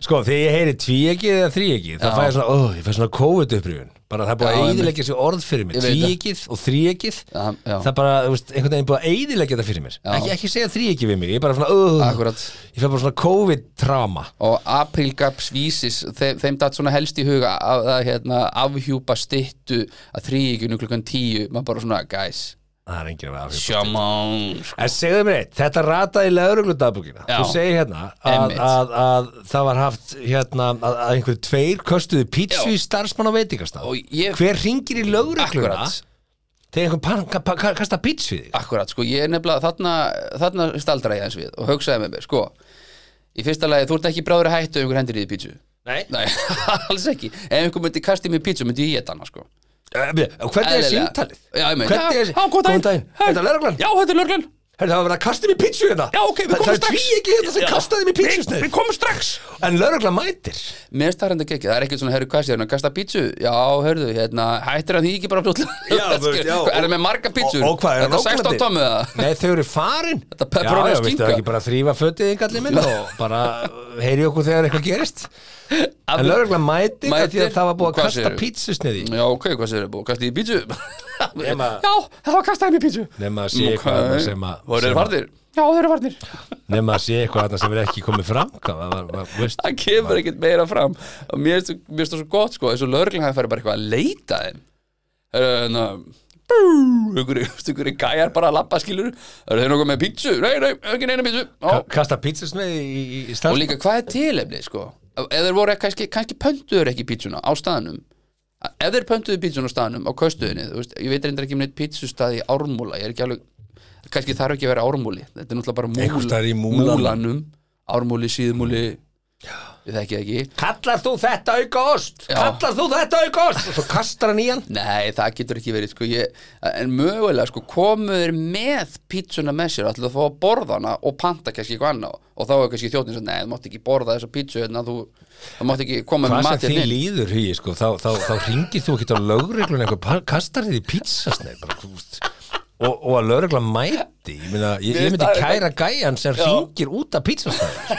Speaker 3: Sko, þegar ég heyri tvíegið eða þríegið þá
Speaker 2: Já.
Speaker 3: fæ ég svona, ó, ég fæ svona COVID-upprifun bara það er
Speaker 2: Já,
Speaker 3: búið að
Speaker 2: einmitt.
Speaker 3: eyðileggja sér orð fyrir mér
Speaker 2: Ég veit það.
Speaker 3: tvíegið og þríegið
Speaker 2: Já, já.
Speaker 3: það er bara, þú veist, einhvern veginn búið að eyðileggja það fyrir mér ekki, ekki segja þríegið við mig, ég er bara svona ó,
Speaker 2: Akkurat.
Speaker 3: ég fæ bara svona COVID-trama
Speaker 2: og aprilgaps vísis þe þeim datt svona helst í huga að, að hérna, afhjúpa styttu að þríeikinu klukkan tíu maður bara svona, guys,
Speaker 3: Það er enginn að vera
Speaker 2: Sko.
Speaker 3: að
Speaker 2: sjámán
Speaker 3: En segðu mér eitt, þetta rataði í lauruglundabókina
Speaker 2: Já.
Speaker 3: Þú segir hérna að,
Speaker 2: Einmitt.
Speaker 3: að, að það var haft hérna að, að einhver tveir köstuðu pítsu
Speaker 2: Já.
Speaker 3: í starfsmann á veitingastað
Speaker 2: Og ég-
Speaker 3: Hver ringir í laurugluna
Speaker 2: Akkurat.
Speaker 3: þegar einhver pan- ka- pa- ka- kasta pítsu í þig?
Speaker 2: Akkurat, sko, ég er nefnilega þarna, þarna staldra ég eins við og hugsaði með mér, sko í fyrsta lagi, þú ert ekki bráður að hættu ef einhver hendur í því pítsu
Speaker 3: Nei
Speaker 2: Nei, alls ekki Ef einhver myndi kasta í mig pítsu, myndi ég geta hana, sko
Speaker 3: Eh, Hvernig er
Speaker 2: Eðlilega.
Speaker 3: símtalið?
Speaker 2: Já, ég meina,
Speaker 3: Hvernig
Speaker 2: já,
Speaker 3: er
Speaker 2: já, góðan daginn. Hæ.
Speaker 3: Þetta er lauruglan?
Speaker 2: Já, þetta er lögreglan
Speaker 3: Herðu, það var verið að kasta mér pítsu hérna
Speaker 2: Já, ok, við
Speaker 3: Það-
Speaker 2: komum strax
Speaker 3: Það er tví ekki hérna sem
Speaker 2: Já.
Speaker 3: kastaði mér pítsu
Speaker 2: Við- Við komum strax
Speaker 3: En lauruglan mætir
Speaker 2: Mér finnst það reynda ekki, það er ekkert svona, herru, hvað sé, hérna, kasta pítsu Já, hörðu, hérna, hættir hann því ekki bara fljóðlega
Speaker 3: Já, þú- já,
Speaker 2: Er það
Speaker 3: og-
Speaker 2: með marga pítsur?
Speaker 3: Og, og hvað, er
Speaker 2: Þetta 16 tómmu það?
Speaker 3: Nei, þau eru farin
Speaker 2: Þetta pepperoni og
Speaker 3: Já, já, viltu
Speaker 2: skinka.
Speaker 3: ekki bara þrýfa fötið í gallið minn og bara heyri okkur þegar eitthvað gerist
Speaker 2: Af-
Speaker 3: En lögreglega mætir, mætir
Speaker 2: Mætir.
Speaker 3: því að það var búið að
Speaker 2: Hvað
Speaker 3: kasta
Speaker 2: segirðu?
Speaker 3: pítsusniði
Speaker 2: Já, ok, hvað sér það búið? Kastið í pítsu?
Speaker 3: Nema-
Speaker 2: Já, það var kastað henni í pítsu
Speaker 3: Nema að sé eitthvað þarna sem að-
Speaker 2: Voru
Speaker 3: sem
Speaker 2: þeir
Speaker 3: að-
Speaker 2: farnir? Já, þeir eru farnir
Speaker 3: Nefn að sé eitthvað þarna sem er ekki komið fram Hvað var, var, var, veist
Speaker 2: Það kemur ekkert meira fram og mér finnst- mér finnst það svo gott sko eins og lögreglan hafi farið bara eitthvað að leita þeim hérna, Það eru þannig að einhverju einhverju gæjar bara að labba skilur eru þeir nokkuð með pítsu? Nei, nei, ekki neina pítsu Ó,
Speaker 3: Ka- Kasta pítsusniði í, í, í
Speaker 2: og
Speaker 3: stað
Speaker 2: líka hvað er tilefni sko ef þeir voru kannski, kannski pöntuður ekki pítsuna á staðnum ef þeir pöntuðu pítsuna á staðnum á köstuðinni þú veist, ég veit reyndar ekki um neitt pítsustað í ármúla ég er ekki alveg, kannski þarf ekki að vera ármúli þetta er náttúrulega bara
Speaker 3: Einhvers staðar í Múlanum.
Speaker 2: múlanum ármúli, síðmúli ég þekki það ekki
Speaker 3: Kallar þú þetta aukost?
Speaker 2: Já.
Speaker 3: Kallar þú þetta aukost? Og svo kastar hann í hann
Speaker 2: Nei, það getur ekki verið sko, ég, en mögulega sko, komuður með pítsuna með sér ætlaðu að fá að borða hana og panta kannski eitthvað annað og þá er kannski þjóttin svo, nei, þú mátt ekki borða þessa pítsu hérna, þú, þú mátt ekki koma
Speaker 3: Hvað
Speaker 2: með
Speaker 3: sem
Speaker 2: matinn
Speaker 3: þið
Speaker 2: inn."
Speaker 3: líður hugi, sko, þá, þá, þá ringir þú ekki á lögreglun einhver, pa- kastar þið í pítsasneið bara, þú veist. og, og að lögregla mæti ég, myna, ég, ég myndi kæra gæjan sem ringir út af pítsasneið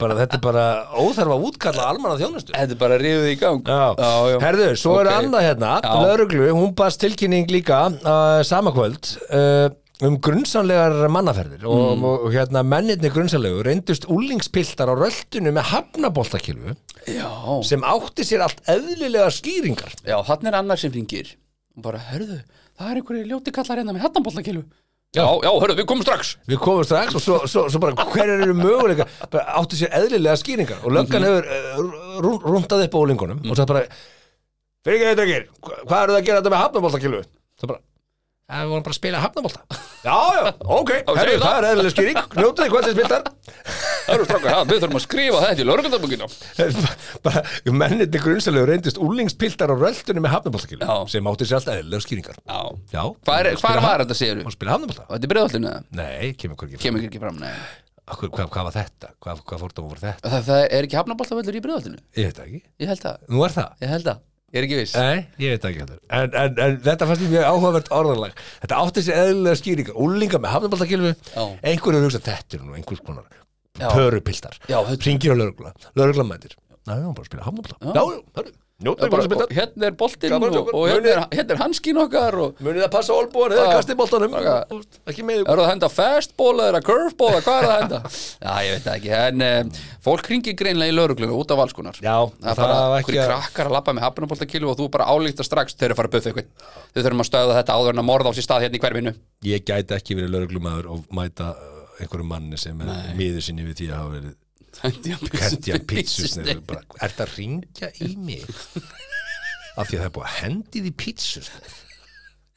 Speaker 3: bara þetta er bara óþarfa útkalla almanna þjónustu
Speaker 2: Þetta er bara ríðið í gang
Speaker 3: Já.
Speaker 2: Já, já.
Speaker 3: Herðu, svo er
Speaker 2: Ok.
Speaker 3: annað hérna
Speaker 2: Já.
Speaker 3: Lörglu, hún baðst tilkynning líka uh, samakvöld uh, um grunnsamlegar mannaferðir og,
Speaker 2: Mm.
Speaker 3: og, hérna mennirni grunnsamlegu reyndust úlingspiltar á röltinu með hafnaboltakilfu
Speaker 2: já,
Speaker 3: sem átti sér allt eðlilega skýringar
Speaker 2: já, þannig er annar sem ringir og bara, hörðu, það er einhverju ljóti kallar hérna með hattanbóllakilu Já, já, hörðu, við komum strax
Speaker 3: Við komum strax og svo, svo, svo bara hverjar eru möguleika bara áttu sér eðlilega skýringar og löggan hefur uh, rún- rúndað upp á úlingunum og það bara fyrir ekki þetta ekki, hvað eru það að gera þetta með hafnaboltakilu? Það bara Það vorum bara að spila hafnabolta Já, já, ok, herri,
Speaker 2: segir
Speaker 3: það
Speaker 2: það.
Speaker 3: er eðlilega skýring Njótið þið hvað þið spiltar
Speaker 2: Hörðu, strákar, já, við þurfum að skrifa þetta í lögreglundabókinu
Speaker 3: bara, Mennirni grunnsælegu reyndist úlingspiltar á röltunni með hafnaboltakilu
Speaker 2: Já.
Speaker 3: sem átti sér alltaf eðlilega skýringar
Speaker 2: Já,
Speaker 3: Já,
Speaker 2: hvað er,
Speaker 3: spila
Speaker 2: hvað
Speaker 3: haf-
Speaker 2: var þetta, segir
Speaker 3: Og
Speaker 2: við?
Speaker 3: spila hafnabolta
Speaker 2: Þetta er breiðallinu,
Speaker 3: Nei, kemur hvergi fram
Speaker 2: kemur ekki fram, nei
Speaker 3: Akkur- Hvað, hvað var þetta? Hvað, hvað fórtum voru þetta?
Speaker 2: Það, það er ekki hafnaboltavöllur í breiðallinu
Speaker 3: Ég veit það ekki
Speaker 2: Ég held að,
Speaker 3: Nú er það?
Speaker 2: ég held að, ég er ekki viss
Speaker 3: Nei, ég veit það ekki heldur en, en, en þetta fannst mér mjög áhugavert orðanlag Þetta átti sér eðlilega skýringar Úlinga með hafnabaltakilfu
Speaker 2: Já.
Speaker 3: Einhver eru hugsað þetta er nú einhvers konar
Speaker 2: Já.
Speaker 3: Pörupiltar
Speaker 2: Já, þetta-
Speaker 3: Ringir á lögregla Lögregla mætir Næ, hún bara að spila hafnabalta Já, já, hörru
Speaker 2: Já,
Speaker 3: Njóttu
Speaker 2: bara,
Speaker 3: bara að
Speaker 2: og
Speaker 3: spila
Speaker 2: Hérna er boltinn
Speaker 3: Gaman að sjá
Speaker 2: og,
Speaker 3: okkur.
Speaker 2: og hérna er, hérna er hanskin okkar og
Speaker 3: Munið að passa olbúan eða
Speaker 2: Já.
Speaker 3: kastið boltanum
Speaker 2: Já.
Speaker 3: Þú veist, Ekki með
Speaker 2: Er það að henda fastball eða er það curveball eða hvað er það að henda? Já, ég veit það ekki, en um, fólk ringir greinlega í laurugluna út af valskunar
Speaker 3: Já,
Speaker 2: það er
Speaker 3: það
Speaker 2: bara
Speaker 3: var ekki
Speaker 2: hverju
Speaker 3: að-
Speaker 2: krakkar að labba með hafnaboltakilu og þú bara álíkta strax þeir eru að fara að buffa ykkur Þau þurfum að stöða þetta áður en að morða á sér stað hérna í hverfinu
Speaker 3: Ég gæti ekki verið lögreglumæður og mæta uh, einhverju manni sem er miður sinni við því að hafa verið hendi að pítsusneið bara, er það að ringja í mig af því að það er búið að hendi því pítsusneið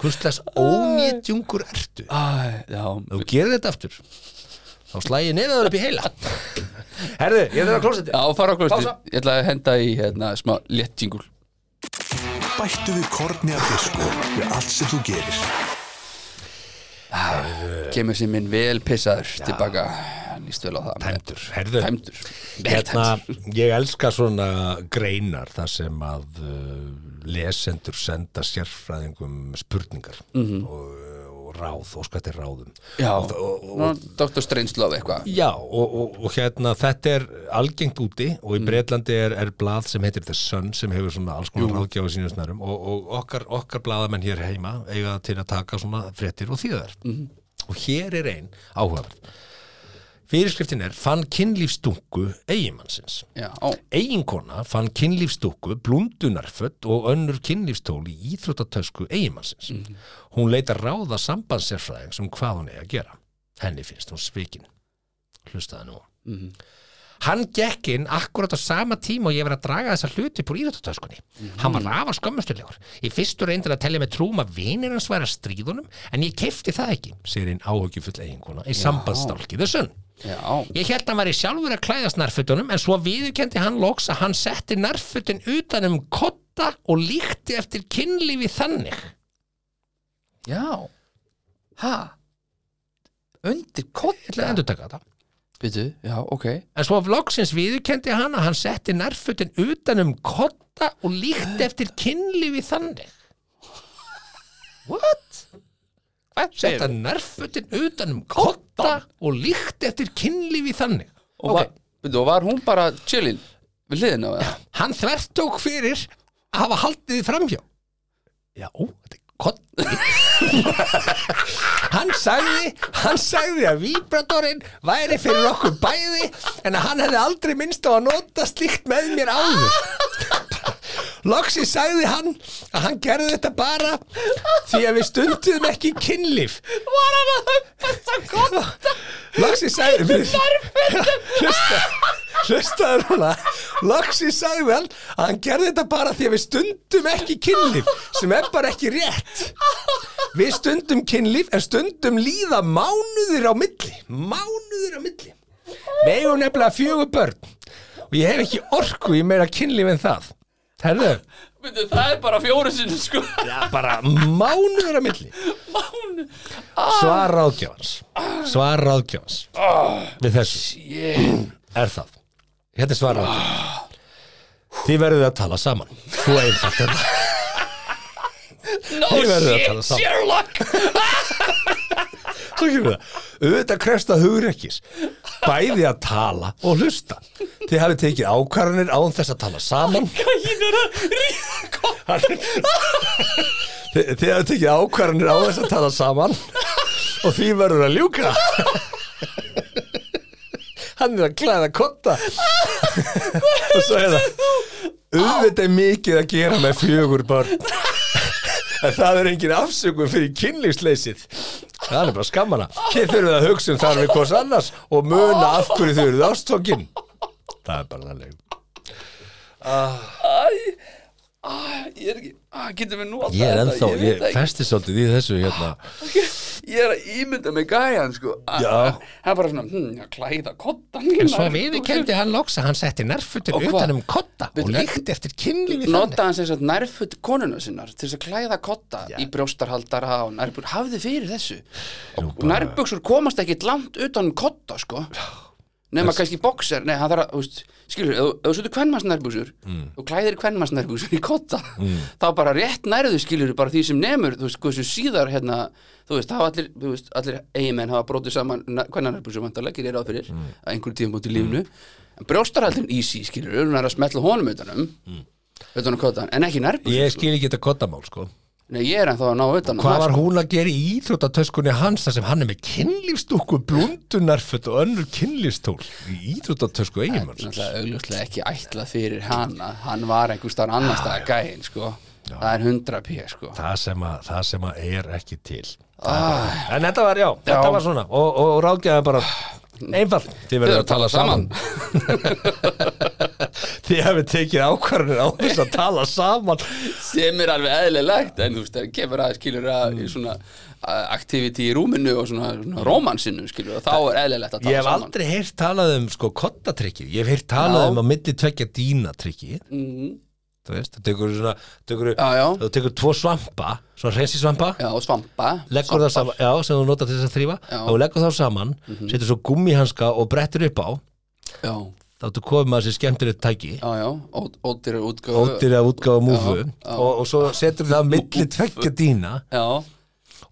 Speaker 3: hvurslags ónýtjungur ertu ef
Speaker 2: Æ, já,
Speaker 3: þú gerir þetta aftur þá slæ ég nefaður upp í heila herðu, ég þarf að klósa
Speaker 2: já,
Speaker 3: þetta
Speaker 2: fara á klostið
Speaker 3: Pása.
Speaker 2: Ég ætla að henda í hérna, smá léttingul
Speaker 1: Bættu við korni að disko við allt sem þú gerir.
Speaker 2: Kemur sem minn vel pissaður tilbaka Nýst vel á það
Speaker 3: tæmdur, herðu
Speaker 2: Tæmdur
Speaker 3: hérna, ég elska svona greinar þar sem að uh, lesendur senda sérfræðingum spurningar
Speaker 2: Mhm.
Speaker 3: og, uh, og ráð, óskattir ráðum
Speaker 2: Já,
Speaker 3: og, og, og,
Speaker 2: Nú, Dr. Strangelove eitthvað
Speaker 3: Já, og, og, og hérna þetta er algengt úti og í Breitlandi er, er blað sem heitir The Sun sem hefur svona alls konar ráðgjáðu sínum snærum og, og okkar, okkar blaðamenn hér heima eiga til að taka svona fréttir og þýðar. Og hér er ein áhugaverð. Fyrirskriftin er fann kynlífstungu eigimannsins.
Speaker 2: Já, ó,
Speaker 3: Eiginkona fann kynlífstungu, blundunarfött og önnur kynlífstól í íþróttatösku eigimannsins. Hún leita ráða sambandsérfræðings um hvað hún eigi að gera. Henni finnst hún svikin. Hlustaði nú.
Speaker 2: mhm.
Speaker 3: Hann gekk inn akkurat á sama tíma og ég var að draga þessa hluti úr íðráttutöskunni. Hann var rafa skömmustulegur. Í fyrstu reyndir að telja með trúum að vinir hans væri að stríðunum, en ég kefti það ekki, segir einn áhugjufull eiginkona í sambandsstálki þessun.
Speaker 2: já
Speaker 3: Ég held hann var í sjálfur að klæðast nærfutunum, en svo viðurkendi hann loks að hann setti nærfutin utan um kotta og líkti eftir kynlífi þannig.
Speaker 2: Já Hæ? Undir
Speaker 3: Ég ætla að
Speaker 2: kolla?
Speaker 3: endur taka þetta.
Speaker 2: Býtu, já, ok
Speaker 3: En svo af loksins viðurkendi hann að hann setti nærfutin utan um kotta og líkti eftir kynlífi þannig. What?
Speaker 2: Hvað
Speaker 3: Setta nærfutin utan um kotta og líkti eftir kynlífi þannig.
Speaker 2: Og, okay. var, og var hún bara chillin við hliðin á það
Speaker 3: hann þvertók fyrir að hafa haldið þið framhjá já, ó, þetta er kotti hann sagði hann sagði að víbratorinn væri fyrir okkur bæði en að hann hefði aldrei minnst á að nota slíkt með mér áður Loksi sagði hann að hann gerði þetta bara því að við stundum ekki kynlíf
Speaker 2: Var hann að höfpa þess að kotta
Speaker 3: Loksi sagði við, hlusta, Hlustaður núna Loksi sagði hann að hann gerði þetta bara því að við stundum ekki kynlíf sem er bara ekki rétt Við stundum kynlíf en stundum líða mánuðir á milli Mánuðir á milli Við eigum nefnilega fjögur börn og ég hef ekki orku í meira kynlíf en það Herðu,
Speaker 2: Myndu, það er bara fjóru sinni sko
Speaker 3: já, bara mánuður á milli
Speaker 2: Mánu
Speaker 3: Svar ráðgjafans Svar ráðgjafans Við þessu
Speaker 2: yeah.
Speaker 3: er það Hérna er svara Þið verðið að tala saman Svo einfalt er það
Speaker 2: No
Speaker 3: Ég verður að tala
Speaker 2: shit,
Speaker 3: saman.
Speaker 2: Sherlock
Speaker 3: Svo kemur það Auðvitað krefst að hugrekkis Bæði að tala og hlusta Þið hafið tekið ákvarðanir án þess að tala saman
Speaker 2: Gæin er að ríða kotta
Speaker 3: Þið, þið hafið tekið ákvarðanir án þess að tala saman Og því verður að ljúka Hann er að klæða kotta Og svo er það Auðvitað er mikið að gera með fjögur börn En það er engin afsökun fyrir kynlífsleysið. Það er bara skammana. Þið þurfið að hugsa um þar við hvors annars og muna af hverju þau eruð ástókin. Það er bara þannig.
Speaker 2: Æ, æ, Ah, ég er ekki Æ, getum við notað
Speaker 3: Ég er
Speaker 2: þetta?
Speaker 3: ennþá,
Speaker 2: veit
Speaker 3: ég
Speaker 2: það ekki.
Speaker 3: festi svolítið í þessu hérna.
Speaker 2: Ég er að ímynda mig gæjan sko
Speaker 3: Já.
Speaker 2: Hann er bara svona, hm, að klæða kottan En
Speaker 3: hann loks að hann setti um nærfutur
Speaker 2: Og hvað?
Speaker 3: kotta
Speaker 2: Við-
Speaker 3: eftir kynlífi
Speaker 2: Notaði hann sem sagt nærfutt konuna sinnar til þess að klæða kotta í brjóstarhaldara og nærbúr, hafði fyrir þessu og bara... nærbuksur komast ekkit langt utan um kotta sko nema kannski bokser, nei hann þarf að þú veist, skilur, ef ef þú setur kvennmanns nærbuksur
Speaker 3: Mm.
Speaker 2: og klæðir kvennmanns nærbuksur í kotta þá bara rétt nærðu skilur bara því sem nemur, þú veist, hversu síðar hérna, þú veist, hafa allir, þú veist, allir eigimenn hafa brotið saman hvernig nærbuksur vantarlegir er á fyrir mm. að einhverjum tíma í lífnu en brjóstarhaldin í sí skilur, hún er að smetla honum utanum utan á kottan, en ekki nærbuxur
Speaker 3: Mm. Ég skil ekki þetta kottamál sko.
Speaker 2: Nei, ég er ennþá að ná utan á
Speaker 3: Hvað
Speaker 2: það,
Speaker 3: var
Speaker 2: sko.
Speaker 3: hún að gera í íþróttatöskunni hans þar sem hann er með kynlífstúku, blundunarföt og önnur kynlífstól í íþróttatösku eiginmanns?
Speaker 2: Náttúrulega augljóslega ekki ætlað fyrir hana Hann var einhvers staðar annars
Speaker 3: Ah,
Speaker 2: staðar gæinn, sko Það er 100 p, sko
Speaker 3: það sem að, það sem að er ekki til
Speaker 2: ah,
Speaker 3: en þetta var, já, þetta var svona og, og, og ráðgjaði bara einfalt þið verður að tala saman þið hefur tekið ákvarðanir á þess að tala saman
Speaker 2: Sem er alveg eðlilegt En þú veist, það kemur að skilur að
Speaker 3: Mm.
Speaker 2: í svona aktiviti í rúminu og svona, svona rómansinu, skilur og þá er eðlilegt að
Speaker 3: ég
Speaker 2: tala
Speaker 3: hef
Speaker 2: saman
Speaker 3: aldrei heyrt talað um sko kottatrykki ég hef heyrt talað
Speaker 2: Já.
Speaker 3: um að milli tvekja dínatrykki
Speaker 2: mm,
Speaker 3: þú veist, það tekur svona tekur,
Speaker 2: Já, já.
Speaker 3: þú tekur tvo svampa, svona reysi
Speaker 2: Já, og svampa
Speaker 3: leggur það saman, já, sem þú notar til þess að þrýfa
Speaker 2: Já. Mhm.
Speaker 3: og leggur þá saman, setur svo gummihanska og brettir upp á,
Speaker 2: Já,
Speaker 3: þá þú komið með þessi skemmtilegt tæki
Speaker 2: já, já, Ó- ódýra útgáfu
Speaker 3: ódýr að útgáfa múfu
Speaker 2: Já, já.
Speaker 3: og, og svo setur það á milli tveggja dína
Speaker 2: Já,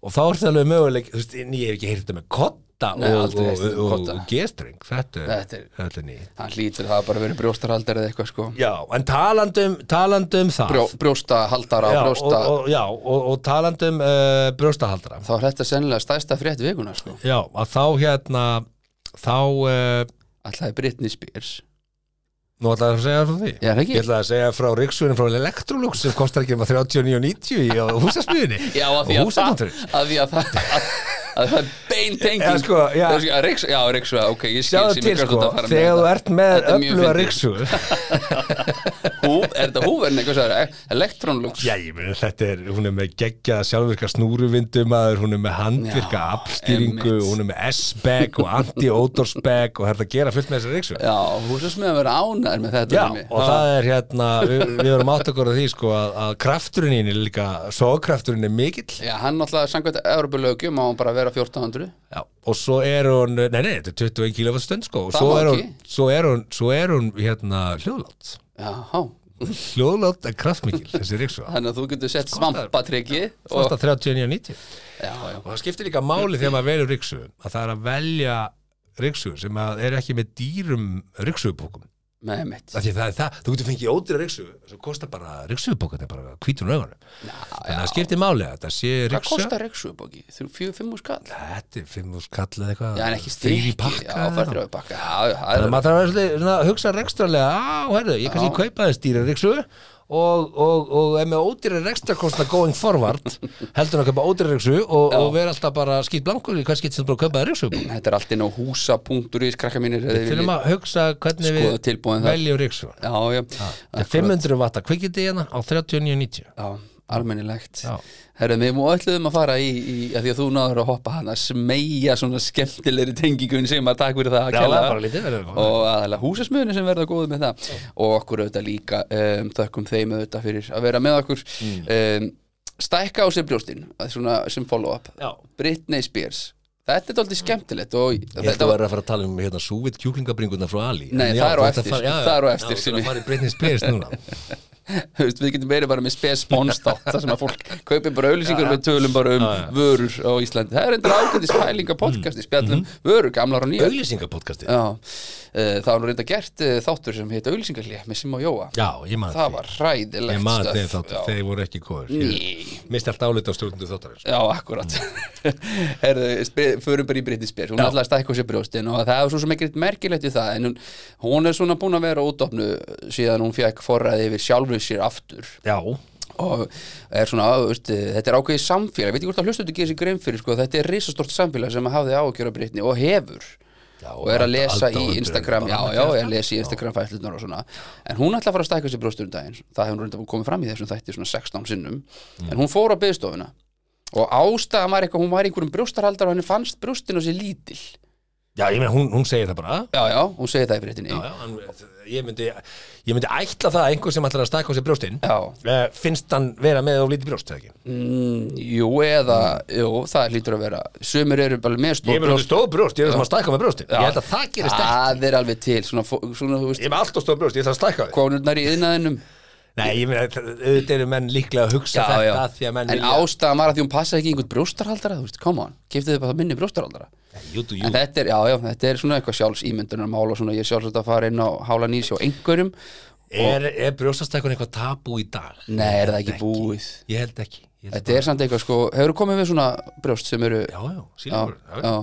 Speaker 3: og þá er það alveg möguleik þú veist, en ég hef ekki heyrt þetta með kotta
Speaker 2: Nei,
Speaker 3: og,
Speaker 2: aldrei
Speaker 3: og,
Speaker 2: heyrt þetta með
Speaker 3: og,
Speaker 2: kodda.
Speaker 3: og gestring þetta, er-
Speaker 2: Þetta er-
Speaker 3: þetta er nýtt
Speaker 2: hann hlýtur það að bara verið brjóstarhaldar eða eitthvað, sko
Speaker 3: já, en talandum, talandum um það
Speaker 2: Brjó, Brjóstahaldara
Speaker 3: já,
Speaker 2: og
Speaker 3: og,
Speaker 2: brjósta
Speaker 3: og, já, og, og talandum uh, brjóstahaldra
Speaker 2: þá er þetta sennilega stæsta frétt vikuna sko.
Speaker 3: já, að þá hérna þá uh,
Speaker 2: Alltaf er Britney Spears
Speaker 3: nú ætlaði að segja frá því
Speaker 2: Já, er það ekki?
Speaker 3: ég ætlaði að segja frá Riksunum frá Electrolux sem kostar ekki um að 39.90 í- á húsasmiðinni
Speaker 2: Já,
Speaker 3: og
Speaker 2: að því að það
Speaker 3: húsamáttri
Speaker 2: að því að það að, að það er beintenging
Speaker 3: Já, sko, já.
Speaker 2: Það er sko, að Riks, já, Riks, ok, ég skil
Speaker 3: Sjáðu
Speaker 2: sem
Speaker 3: til
Speaker 2: ég hvert
Speaker 3: sko,
Speaker 2: út að fara með
Speaker 3: þegar þú
Speaker 2: þetta.
Speaker 3: ert með
Speaker 2: Þetta er mjög
Speaker 3: öfluga
Speaker 2: fyndið.
Speaker 3: ríksugur
Speaker 2: Hú, er þetta húverðin eitthvað sagði, E- elektrónlux
Speaker 3: Já, ég meni þetta er, hún er með geggja sjálfvirka snúruvindumaður, hún er með handvirka
Speaker 2: Já,
Speaker 3: afstýringu,
Speaker 2: einmitt.
Speaker 3: hún er með S-bag og anti-odor-bag og það er hægt að gera fullt með þessari ríksugur
Speaker 2: Já, hún sem sem að vera ánæður með þetta
Speaker 3: Já,
Speaker 2: dæmi.
Speaker 3: og það er hérna, við, við erum átt okkur að því sko að, að krafturinn í henni er líka, sókrafturinn er mikill
Speaker 2: Já, hann náttúrulega samkvæmt Evropulögjum á hann bara að vera 1400
Speaker 3: Já, og svo er hún, nei, nei, þetta er 21 kilovat stund sko, og
Speaker 2: Það
Speaker 3: svo
Speaker 2: má
Speaker 3: er, hún,
Speaker 2: ekki.
Speaker 3: svo er hún, svo er hún hérna hljóðlátt,
Speaker 2: Já, há
Speaker 3: hljóðlátt en kraftmikil þessi ríksuga,
Speaker 2: Þannig að þú getur sett svampatryggi og,
Speaker 3: fórst að 39.90
Speaker 2: Já, já,
Speaker 3: og það skiptir líka máli þegar maður velur ryksugur að það er að velja ryksugur sem að er ekki með dýrum ryksugubókum
Speaker 2: með mitt
Speaker 3: Af því að það er það, þú getur fengið ódýra ryksugu sem kostar bara ryksugbókarnir bara hvítur úr augunum þannig að það skiptir máli að þetta sé
Speaker 2: Hvað
Speaker 3: ryksuga
Speaker 2: kostar reyksugbóki? Þrjú, fjögur, fimmu skall?
Speaker 3: þetta er fimm úr skall eða eitthvað
Speaker 2: Já, en ekki
Speaker 3: Þrír
Speaker 2: strikki,
Speaker 3: í pakka
Speaker 2: já, það er þrjá í pakka Já, já,
Speaker 3: þannig
Speaker 2: það
Speaker 3: að
Speaker 2: er
Speaker 3: maður þarf að vera svolítið svona að hugsa rekstrarlega á, herðu, ég kannski kaupa þess dýra ryksugu og, og, og er með ódýra rekstrakosta going forward heldur en að kaupa ódýra ryksugu og, og vera alltaf bara skýt blankur í hvað skýt sem bara kaupa ryksugu
Speaker 2: Þetta er allt inn á húsa.is krakka mínir ef þið
Speaker 3: fyrir
Speaker 2: viljið.
Speaker 3: að hugsa hvernig
Speaker 2: Skoða
Speaker 3: við
Speaker 2: tilboðin þar.
Speaker 3: veljum ryksugu
Speaker 2: Já, já,
Speaker 3: Þetta er 500 vatta kvikindi hérna á 39.90
Speaker 2: já almennilegt
Speaker 3: Já.
Speaker 2: Herra, við mú ætluðum að fara í, í að því að þú náður að hoppa hann að smeja svona skemmtilegri tengingun sem að takk fyrir það
Speaker 3: Já,
Speaker 2: kærlega.
Speaker 3: það er bara lítið, það er bara-
Speaker 2: og aðalega húsasmiðunni sem verða góð með það og okkur auðvitað líka um, þökkum þeim auðvitað fyrir að vera með okkur
Speaker 3: Mm.
Speaker 2: um, stækka á sér brjóstin að svona, sem follow-up
Speaker 3: Já.
Speaker 2: Britney Spears Þetta er dálítið skemmtilegt og
Speaker 3: Ég ætla að vera að fara að tala um hérna súvitt kjúklingabringurna frá Ali
Speaker 2: Nei,
Speaker 3: En
Speaker 2: það er á
Speaker 3: þú ert
Speaker 2: eftir,
Speaker 3: að fara- já, já,
Speaker 2: það er á
Speaker 3: já,
Speaker 2: eftir
Speaker 3: þú
Speaker 2: sem
Speaker 3: ert
Speaker 2: ég-
Speaker 3: að fara í Britney Spears núna
Speaker 2: Þú veist, við getum verið bara með spes sponstátt þar sem að fólk kaupir bara auðlýsingur við tölum bara um vörur á Íslandi það er endur ákveðis pælinga podcasti spjallum
Speaker 3: Mm.
Speaker 2: vörur, gamlar og nýjar
Speaker 3: Auglýsingapodcastið
Speaker 2: Já, eh, það var nú reynda gert eh, þáttur sem heit auðlýsingarlið með Sim og Jóa
Speaker 3: Já, ég maður
Speaker 2: það var hræðilegt
Speaker 3: Ég maður þeim
Speaker 2: stöf.
Speaker 3: þáttu,
Speaker 2: Já.
Speaker 3: þeir voru ekki kóður
Speaker 2: Ný.
Speaker 3: Misti allt álita á stjórnundu þáttarins
Speaker 2: Já, akkurat Herðu, spe- förum bara í Britney Spears hún er alltaf að stækka á sér brjóstin og það er svo sem ekkert merkilegt við það en hún, hún er svona búin að vera útofnu síðan hún fekk forræði yfir sjálfur sér aftur
Speaker 3: Já,
Speaker 2: og er svona, veist, þetta er ákveðið samfélag, veit ekki hvort að hlustu þetta gerir sér grein fyrir sko, þetta er risastort samfélag sem að hafði áhugjur af Britni og hefur
Speaker 3: Já,
Speaker 2: og er að
Speaker 3: alda-
Speaker 2: lesa í
Speaker 3: aldahundur er
Speaker 2: Instagram já,
Speaker 3: bara
Speaker 2: já, er að lesa í Instagram fætlunar og svona en hún ætla að fara að stækka sér brjóstur um daginn það hefur hún reynda komið fram í þessum þætti svona 16 sinnum
Speaker 3: Mm.
Speaker 2: en hún fór á byggstofuna og ástæðan var eitthvað, hún var í einhverjum brjóstarhaldar og henni fannst brjóstinu sér lítil já,
Speaker 3: já ég meina, hún, hún segir það bara
Speaker 2: já, hún segi það í Britni
Speaker 3: Já, já, hann, ég, myndi, ég myndi ætla það að einhver sem ætlar að staka á sér brjóstinn
Speaker 2: Já.
Speaker 3: eh, finnst hann vera með of lítið brjóst eða ekki
Speaker 2: mm, jú, eða, jú, það hlýtur að vera sömur eru bara með
Speaker 3: Ég
Speaker 2: stór
Speaker 3: er með stóð brjóst, ég er það að stækka með brjóstinn
Speaker 2: Já.
Speaker 3: Ég held að það gerist ekki
Speaker 2: það er alveg til svona, fó- svona þú
Speaker 3: Ég
Speaker 2: veist,
Speaker 3: er með allt of stóð brjóst, ég þarf að stækka því
Speaker 2: konurnar í yðnaðinum
Speaker 3: Nei, ég meina, þ- auðvitað eru menn líklega að hugsa þetta að því að menn
Speaker 2: en ástæðan var að því hún passaði ekki einhvern brjóstarhaldara þú veist, come on, kiftið þið bara minni brjóstarhaldara
Speaker 3: Jú, jú,
Speaker 2: en þetta er, já, já, þetta er svona eitthvað sjálfsýmyndunar mál og svona, ég er sjálfsagt að fara inn á hála nýs hjá einhverjum,
Speaker 3: er, er brjóstastækun eitthvað tabú í dag?
Speaker 2: nei, er það ekki búið
Speaker 3: Ég held ekki ég held
Speaker 2: þetta er samt eitthvað, sko, hefur komið við svona brjóst sem eru,
Speaker 3: Já, já, sílur Já,
Speaker 2: já,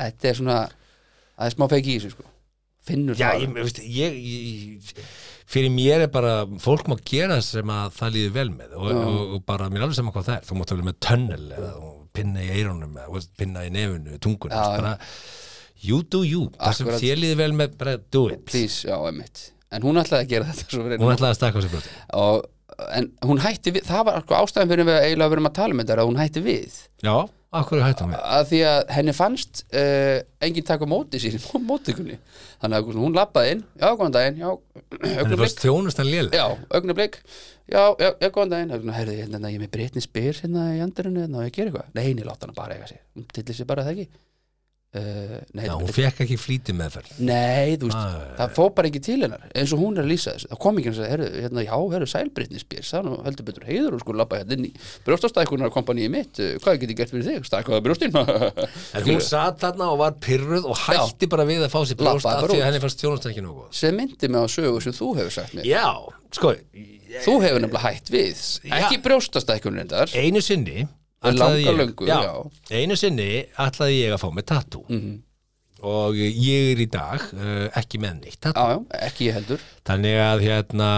Speaker 2: þetta er svona það er smá feiki í þessu, sko finnur
Speaker 3: já
Speaker 2: það
Speaker 3: ég, veist, ég, ég, fyrir mér er bara fólk má gera sem að það líður vel með og, og, og bara mér er alveg saman hvað það er þú mátt alveg með tönnel eða þú pinna í eyrunum eða þú veist, pinna í nefunu, tungun
Speaker 2: Já,
Speaker 3: bara, you do you, það sem
Speaker 2: Akkurat.
Speaker 3: þér líður vel með bara do it,
Speaker 2: please, já, emitt en hún ætlaði að gera þetta svo fyrir
Speaker 3: hún ætlaði að stakka á sér brjóti
Speaker 2: og, en hún hætti við, það var sko ástæðan fyrir við eiginlega verum að tala um þetta er að hún hætti við
Speaker 3: Já, akkur er hættum við
Speaker 2: að því að henni fannst uh, engin taka móti sín, mótikunni þannig að hún labbaði inn, já, góðan daginn já,
Speaker 3: Henni
Speaker 2: augnablik,
Speaker 3: fannst þjónustan léleg
Speaker 2: já, augnablik já, já, já, góðan daginn, augnablik, herði, hérna, ég er með breytni spyr hérna í andurinu, hérna, á ég að gera eitthvað nei, henni látt hana bara eiga sig, hún tillir sér bara það ekki uh, nei,
Speaker 3: Já, hún fekk ekki flýti meðferð
Speaker 2: Nei, þú veist,
Speaker 3: Nei.
Speaker 2: það fór bara ekki til hennar eins og hún er að lýsa þessu, það kom ekki hans að herru, hérna, já, herru, sælbritni spyr það er nú heldur betur heiður og sko labba hérna inn í brjóstastækunar kompaníi mitt, eh, hvað get ég gert fyrir þig stækuða brjóstin
Speaker 3: En hún satt þarna og var pyrruð og hætti bara við að fá sér brjóst
Speaker 2: Labbaði
Speaker 3: af
Speaker 2: bara
Speaker 3: því
Speaker 2: út.
Speaker 3: að henni fannst þjónustan ekki nógu góð
Speaker 2: sem myndi mig á sögu sem þú hefur sagt mér
Speaker 3: Já, sko, ég-
Speaker 2: þú hefur nefnilega hætt við ekki brjóstastækunar endar
Speaker 3: einu sinni
Speaker 2: langa
Speaker 3: ætlaði ég-
Speaker 2: löngu,
Speaker 3: einu sinni ætlaði ég að fá mig tattoo
Speaker 2: Mhm.
Speaker 3: og ég er í dag uh, ekki með neitt tattoo
Speaker 2: já, já, ekki ég heldur
Speaker 3: þannig að hérna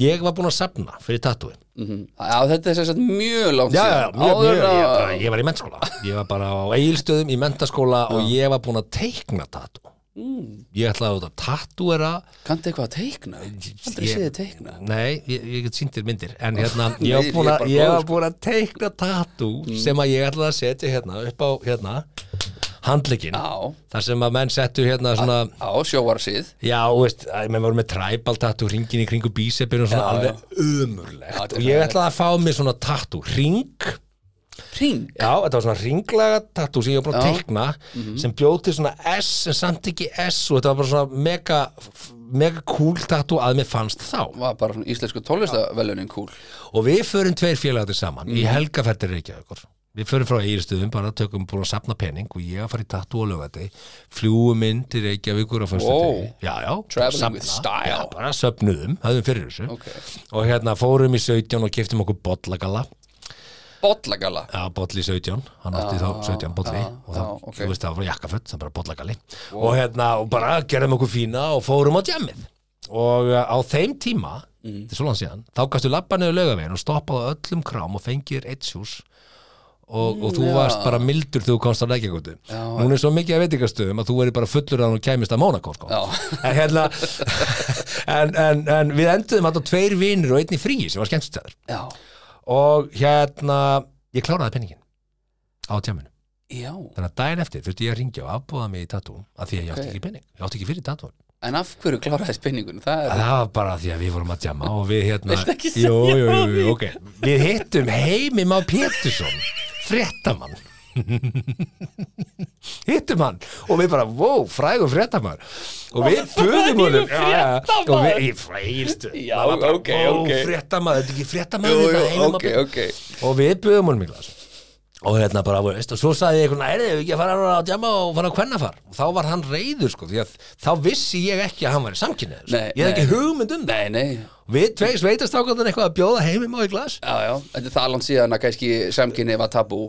Speaker 3: ég var búinn að safna fyrir tattoo
Speaker 2: mm já, þetta er sem sagt mjög langt
Speaker 3: já, já,
Speaker 2: síðan.
Speaker 3: mjög,
Speaker 2: Áður
Speaker 3: mjög, ég,
Speaker 2: að-
Speaker 3: bara, ég var í mennskóla ég var bara á eigilstöðum í menntaskóla og ég var búinn að teikna tattoo
Speaker 2: Mm.
Speaker 3: ég ætlaði að tattooera
Speaker 2: kanntu eitthvað að teikna aldrei séð þið teikna
Speaker 3: Nei, ég, ég get sýndir myndir En hérna,
Speaker 2: Nei, ég
Speaker 3: ég var
Speaker 2: er
Speaker 3: búin að,
Speaker 2: bara
Speaker 3: ég
Speaker 2: góður,
Speaker 3: var
Speaker 2: sko. Mm.
Speaker 3: búin að teikna tattoo sem að ég ætlaði að setja hérna upp á hérna handlegin
Speaker 2: já,
Speaker 3: þar sem að menn settu hérna svona
Speaker 2: á sjóarsið
Speaker 3: Já, þú veist, að menn voru með tribal tattoo ringin í kringu bísepin og svona
Speaker 2: Já, já.
Speaker 3: alveg umurlegt
Speaker 2: þetta er
Speaker 3: og ég
Speaker 2: hræðilegt.
Speaker 3: ætlaði að fá mér svona tattoo ring,
Speaker 2: ring
Speaker 3: já, þetta var svona ringlaga tattoo sem ég var búin að teikna
Speaker 2: Mhm.
Speaker 3: sem bjóð til svona S en samt ekki S og þetta var bara svona mega mega cool tattoo að mér fannst þá
Speaker 2: var bara svona íslensku tónlistavelunin kúl Mhm.
Speaker 3: og við förum tveir félagarnir saman í helgaferðir Reykjavíkur við förum frá eigirstöðum bara tökum búin að safna pening og ég að fara í tattu og lögati fljúum inn til Reykjavíkur á fyrstu
Speaker 2: Wow.
Speaker 3: já, já,
Speaker 2: Traveling with style.
Speaker 3: já, bara söfnuðum, höfðum fyrir þessu
Speaker 2: Ok.
Speaker 3: og hérna fórum í 17 og keftum okkur bollagalla
Speaker 2: Bollagala
Speaker 3: Já, bolli 17, hann átti þá 17 bolli
Speaker 2: já,
Speaker 3: og það,
Speaker 2: já, ok.
Speaker 3: þú veist, það var jakkaföld, það var bara bollagalli og hérna, og bara gerðum okkur fína og fórum á djamið og uh, á þeim tíma,
Speaker 2: Mhm.
Speaker 3: þetta er svo langt síðan þá gastu labba niður laugavegin og stoppaði á öllum krám og fengir eitt sjús og, og
Speaker 2: Mm,
Speaker 3: þú varst bara mildur þegar þú komst á leikjagótu núna er svo mikið að veitingastöðum að þú verið bara fullur að hún kæmist að Mónakó sko.
Speaker 2: Já.
Speaker 3: en hérna en, en, en við enduðum alltaf tveir vinir og einn í fríi sem var skemmtstæður
Speaker 2: Já,
Speaker 3: og hérna ég kláraði penningin á tjáminu
Speaker 2: já
Speaker 3: þannig að daginn eftir þurfti ég að ringja og afbúða mig í tatúum af því að ég átti
Speaker 2: Ok.
Speaker 3: ekki penning, ég átti ekki fyrir tatúum
Speaker 2: En af hverju kláraði spenningun? Það
Speaker 3: það
Speaker 2: er
Speaker 3: var bara af því að við vorum að tjama og við hérna
Speaker 2: Viltu ekki segja
Speaker 3: jú, jú, jú,
Speaker 2: frá
Speaker 3: jú,
Speaker 2: því?
Speaker 3: ok. við hittum heimim á Pétursson fréttamann hittum hann og við bara, wow, frægur fréttamann og við
Speaker 2: frægur
Speaker 3: buðum honum Já, já,
Speaker 2: fréttamaður.
Speaker 3: og við, ég frægist
Speaker 2: Já, ok, ok.
Speaker 3: fréttamann, þetta er ekki fréttamann
Speaker 2: Jú,
Speaker 3: þetta
Speaker 2: jú,
Speaker 3: er heimum á
Speaker 2: ok,
Speaker 3: Pétursson
Speaker 2: ok
Speaker 3: og við buðum honum í glas og hérna bara, veist, og svo sagði ég eitthvað, erðu ekki að fara á djama og fara á kvennafar og þá var hann reyður, sko, því að þá vissi ég ekki að hann var í samkynnið, sko.
Speaker 2: Nei,
Speaker 3: ég hef ekki
Speaker 2: nei.
Speaker 3: hugmynd um það
Speaker 2: Nei, nei,
Speaker 3: við tvei sveitastákarnir eitthvað að bjóða heimim á í glas
Speaker 2: já, já Þetta er það langt síðan að kannski samkynni var tabú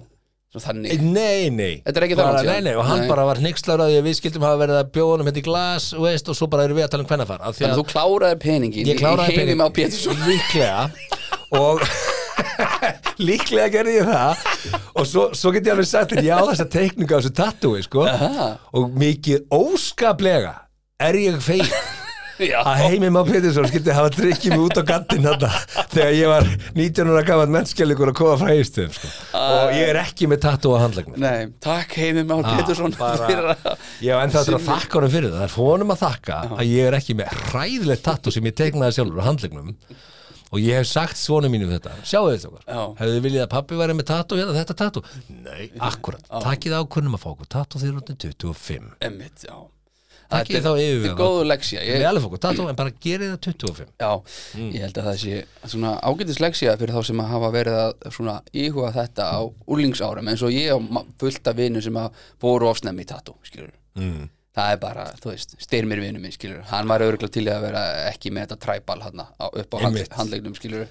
Speaker 2: Svo þannig
Speaker 3: nei, nei,
Speaker 2: Þetta er ekki
Speaker 3: bara,
Speaker 2: það langt síðan.
Speaker 3: nei, nei, og hann
Speaker 2: Nei.
Speaker 3: bara var hnyggslaur að því að við skildum hafa verið að bjóða honum hérna í glas og, veist, og svo bara erum við að tala um kvennafar af því
Speaker 2: Þannig
Speaker 3: að
Speaker 2: að þú kláraði peningin
Speaker 3: ég kláraði
Speaker 2: Í heimim á Pétursson
Speaker 3: pening- líklega og líklega gerði ég það og svo, svo get ég alveg sagt að ég á þessa teikningu á þessu tattúi sko. og mikið óskaplega er ég feil
Speaker 2: Já,
Speaker 3: að heimim á Pétursson skildi hafa drikkið mig út á gattinn þarna þegar ég var 19 ára gaman mennskjælingur að koma frá eistum sko. og ég er ekki með tattú á handlagnum
Speaker 2: nei, takk heimim á Pétursson
Speaker 3: Ah, bara-
Speaker 2: Fyrir að
Speaker 3: ég hef ennþá þetta að þakka honum fyrir það það er honum að þakka að ég er ekki með hræðilegt tattú sem ég teiknaði sjálfur á handlegnum og ég hef sagt svonum mínum þetta sjáu þetta
Speaker 2: Já.
Speaker 3: okkar, hefðu viljið að pappi væri með tattú hérna þetta tattú, nei, akkurat takkið ákvörnum að fá okkur tattú þegar hún er 25
Speaker 2: Emmitt, já
Speaker 3: Takið
Speaker 2: Þetta er-
Speaker 3: þá yfir
Speaker 2: Þetta er
Speaker 3: það.
Speaker 2: góðu leksja
Speaker 3: við
Speaker 2: ég,
Speaker 3: alveg fá okkur tattú en bara gerið það 25
Speaker 2: Já,
Speaker 3: Mm.
Speaker 2: ég held að það sé svona ágætis leksja fyrir þá sem að hafa verið að svona íhuga þetta á úrlingsárum eins og ég og ma- fullt af vinum sem að fóru ofsnæmi í tattu, skilur mm. Það er bara, þú veist, styrmir vinum minn, skilur Hann var örgulega til í að vera ekki með þetta træbal hann upp á hand,
Speaker 3: Einmitt.
Speaker 2: handlegnum, skilur En,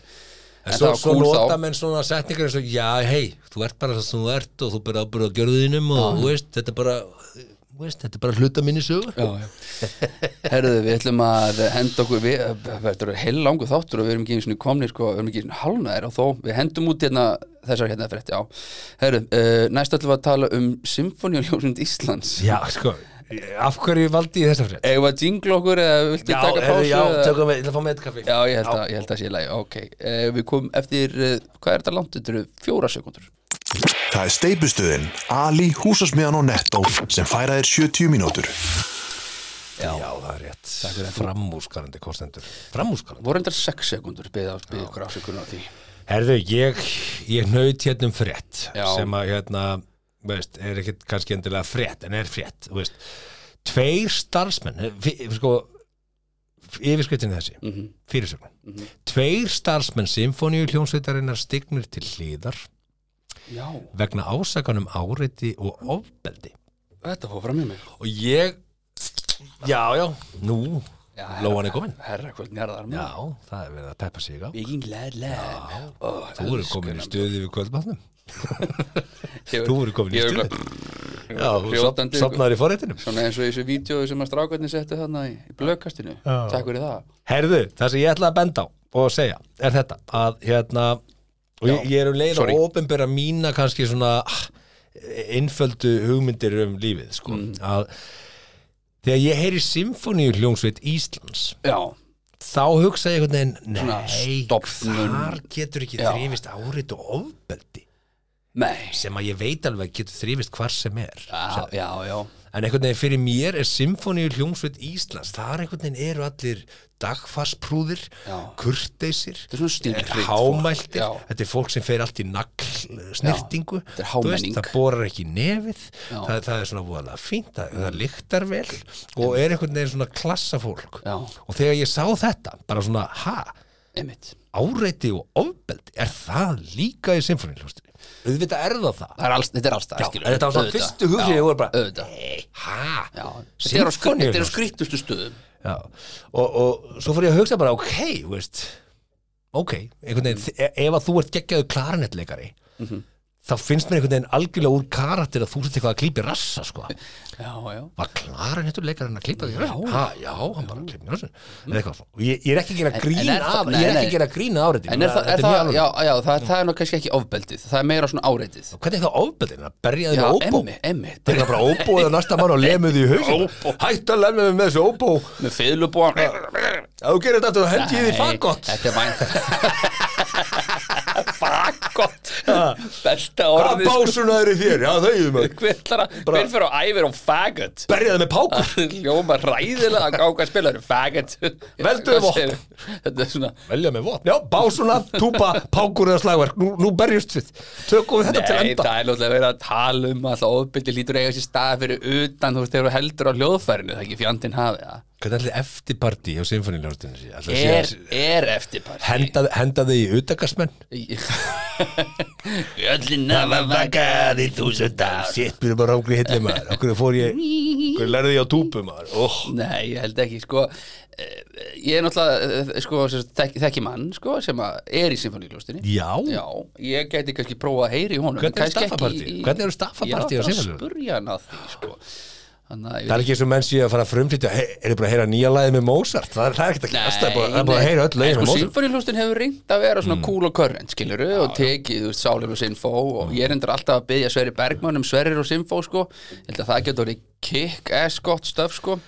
Speaker 3: en svo, svo
Speaker 2: cool
Speaker 3: nota menn svona setningar eins og já, hei, þú ert bara það sem þú ert og þú bara ábyrða að gjörðu þínum og þú veist, þetta er bara þú Veist, þetta er bara hluta minni sögur
Speaker 2: já, já. Herðu, við ætlum að henda okkur við, þetta eru heil langu þáttur og við erum ekki einu sinni komnir, sko, við erum ekki einu sinni hálnaðir og þó, við hendum út hérna þessar hérna frétti, já. Herðu, uh, næst ætlum við að tala um Symfóniuljósund Íslands.
Speaker 3: Já, sko, af hverju valdi ég þessa frétt?
Speaker 2: Eða að jingla okkur eða viltu
Speaker 3: Já,
Speaker 2: taka
Speaker 3: heyrðu,
Speaker 2: pásu?
Speaker 3: já,
Speaker 2: eða-
Speaker 3: tökum við, ég ætla að fá með eitt kaffi
Speaker 2: Já, ég held, Að, ég held að sé í lagi, ok. Uh, við komum eftir, uh, hvað er þetta langt? Þetta eru fjóra sekundur.
Speaker 1: Það er steipustuðin Ali, húsasmiðan og Netto sem færa þér 70 mínútur.
Speaker 3: Já, það er rétt Framúskarandi kostendur Framúskarandi
Speaker 2: Voru endar sex sekundur, beða beð okkur afsökunar á því.
Speaker 3: Herðu, ég, ég naut hérna um frétt
Speaker 2: Já.
Speaker 3: sem að hérna veist, er ekkit kannski endilega frétt en er frétt, þú veist Tveir starfsmenn, eh, fi- sko yfirskriftin er þessi mm
Speaker 2: Mhm.
Speaker 3: -hmm. fyrirsögn Tveir starfsmenn symfóníu hljónsveitarinnar stignir til hlýðar
Speaker 2: Já,
Speaker 3: vegna ásakanum áreiti og ofbeldi
Speaker 2: þetta fór fram í mig.
Speaker 3: og ég já, já, nú
Speaker 2: Já,
Speaker 3: Lóan er komin
Speaker 2: Herra, hvernig njarðar maður?
Speaker 3: já, það er verið að peppa sig á
Speaker 2: Viking Lad Lab Ó,
Speaker 3: þú eru komin í stuði við kvöldbátnum
Speaker 2: Ég-
Speaker 3: þú eru komin í
Speaker 2: ég-
Speaker 3: stuði já, þú
Speaker 2: Hrjótandi, sko.
Speaker 3: sopnaður í forréttinum
Speaker 2: Svona eins og í þessu vídeo sem að strákarnir settu þarna í, í blökkastinu Takk fyrir það
Speaker 3: herðu, það sem ég ætla að benda á og segja er þetta að hérna og ég, ég er um leið
Speaker 2: sorry.
Speaker 3: að ofinbera mína kannski svona ah, einföldu hugmyndir um lífið sko,
Speaker 2: Mm.
Speaker 3: að þegar ég heyri symfóníu hljómsveit Íslands
Speaker 2: Já,
Speaker 3: þá hugsa ég einhvern veginn
Speaker 2: Svona
Speaker 3: nei,
Speaker 2: stofnun.
Speaker 3: þar getur ekki
Speaker 2: Já.
Speaker 3: þrýfist árit og ofbeldi
Speaker 2: nei
Speaker 3: sem að ég veit alveg getur þrýfist hvar sem er
Speaker 2: Já, já, já
Speaker 3: en einhvern veginn fyrir mér er symfóníu hljómsveit Íslands þar einhvern veginn eru allir dagfarsprúðir
Speaker 2: Já.
Speaker 3: kurteisir eh,
Speaker 2: Þetta er svona stílhreint fólk.
Speaker 3: hámæltir,
Speaker 2: Já.
Speaker 3: þetta er fólk sem fer allt í nagl snirtingu
Speaker 2: þetta er
Speaker 3: Þú
Speaker 2: hámenning.
Speaker 3: það borar ekki í nefið
Speaker 2: Já. Mm.
Speaker 3: það, það er svona voðalega fínt, það, það lyktar vel og er einhvern veginn svona klassafólk
Speaker 2: Já.
Speaker 3: og þegar ég sá þetta bara svona, ha,
Speaker 2: Einmitt
Speaker 3: áreiti og ofbeldi er það líka í symfóníuljóstinni auðvitað er það það
Speaker 2: Það er alls, þetta er alls það,
Speaker 3: Já, þetta var svona fyrstu hughrif, ég voru bara,
Speaker 2: Auðvitað,
Speaker 3: hæ,
Speaker 2: já Þetta er á skr-
Speaker 3: Sinfóníuhljómsveit.
Speaker 2: Þetta er á skrýttustu stöðum
Speaker 3: Já, og, og svo fór ég að hugsa bara, ok, þú veist, ok, einhvern
Speaker 2: Mhm.
Speaker 3: veginn, e- ef að þú ert geggjaðu klarinettleikari, þá finnst mér einhvern veginn algjörlega úr karakter að þú sett eitthvað að klípi rassa, sko.
Speaker 2: Já, já
Speaker 3: Var klarinettuleikarinn að klípa því rassin? Já, já, hann bara klípa því rassin. Eða eitthvað, og ég, ég er ekki að gera
Speaker 2: Mhm. En-
Speaker 3: grín
Speaker 2: en er það-
Speaker 3: af,
Speaker 2: nei,
Speaker 3: ég er ekki
Speaker 2: nei.
Speaker 3: að gera grín af áreitinu.
Speaker 2: En er það,
Speaker 3: þetta
Speaker 2: er
Speaker 3: mjög
Speaker 2: það,
Speaker 3: alvarlegt.
Speaker 2: já, já, það, það er nú kannski ekki ofbeldið Það er meira svona áreitið
Speaker 3: Hvernig er það ofbeldin að berja því
Speaker 2: Já,
Speaker 3: með óbó?
Speaker 2: emmi, emmi
Speaker 3: Þegar það bara óbóið á næsta mann og lemuð því í hausinn. Hætt að lemja mig með þessu óbó.
Speaker 2: Með fiðlubóan
Speaker 3: Ef þú gerir þetta, þá hendi ég því fagott.
Speaker 2: Þetta er mæn Fagott Besta
Speaker 3: Hvað
Speaker 2: orðið sko.
Speaker 3: básuna eru þér? Já, það er maður.
Speaker 2: Hver ætlar að-
Speaker 3: Bara-
Speaker 2: hver fyrir á æfir á faggot
Speaker 3: Berjaði með pákur.
Speaker 2: Ljóma ræðilega að gá hvað spilaður Faggot
Speaker 3: Veldu um
Speaker 2: Hvað
Speaker 3: vopn.
Speaker 2: segirðu? Þetta er svona
Speaker 3: Velja með vopn. Já, básuna, túpa, pákur eða slagverk. Nú, nú berjust við. Tökum við þetta til
Speaker 2: Nei,
Speaker 3: enda.
Speaker 2: það er náttúrulega verið að tala um að það ofbyldi lítur eiga sér stað fyrir utan þú veist, þegar þú heldur á hljóðfærinu, það er ekki fjandinn hafið það.
Speaker 3: Hvernig ætli eftirparti hjá Sinfoníljónstunni sé? Ætli það
Speaker 2: Er,
Speaker 3: sé að-
Speaker 2: er eftirpart.
Speaker 3: Henda- Henda þig í utakarsmenn?
Speaker 2: Öllin hafa vakað í þúsund ár.
Speaker 3: Sitt, byrjum bara rángri hitli maður. Okkur fór ég, okkur lærði ég á túpu maður. Oh.
Speaker 2: Nei, ég held ekki, sko, eh, ég er náttúrulega, eh, sko, sem sagt, þekki, þekki mann, sko, sem að er í symfóníljóstinni.
Speaker 3: Já.
Speaker 2: Já, ég gæti kannski prófað að heyri í honum. en
Speaker 3: Hvernig er
Speaker 2: kannski ekki
Speaker 3: staffapartí?
Speaker 2: í-
Speaker 3: Hvernig eru staffapartí á
Speaker 2: Ég var bara að
Speaker 3: Sinfóníuhljómsveitinni?
Speaker 2: spurja hann að því, sko. Þannig að ég
Speaker 3: Það er ekki eins og menn sé að fara að frumflytja, hey, er þið bara að heyra nýja lagið með Mozart? Það er, það er ekkert ekki, það er bara- það er bara að heyra öll
Speaker 2: sko,
Speaker 3: lagið með Mozart.
Speaker 2: Sinfoníhljóstin hefur reynd að vera
Speaker 3: Mm.
Speaker 2: svona cool og current, skilur og tekið, þú veist, Sálir og Sinfó og
Speaker 3: Mm.
Speaker 2: ég er endur alltaf að byggja Sverri Bergmann um Sverrir og Sinfó, sko ég held að það getur orðið kick-ass gott stöf, sko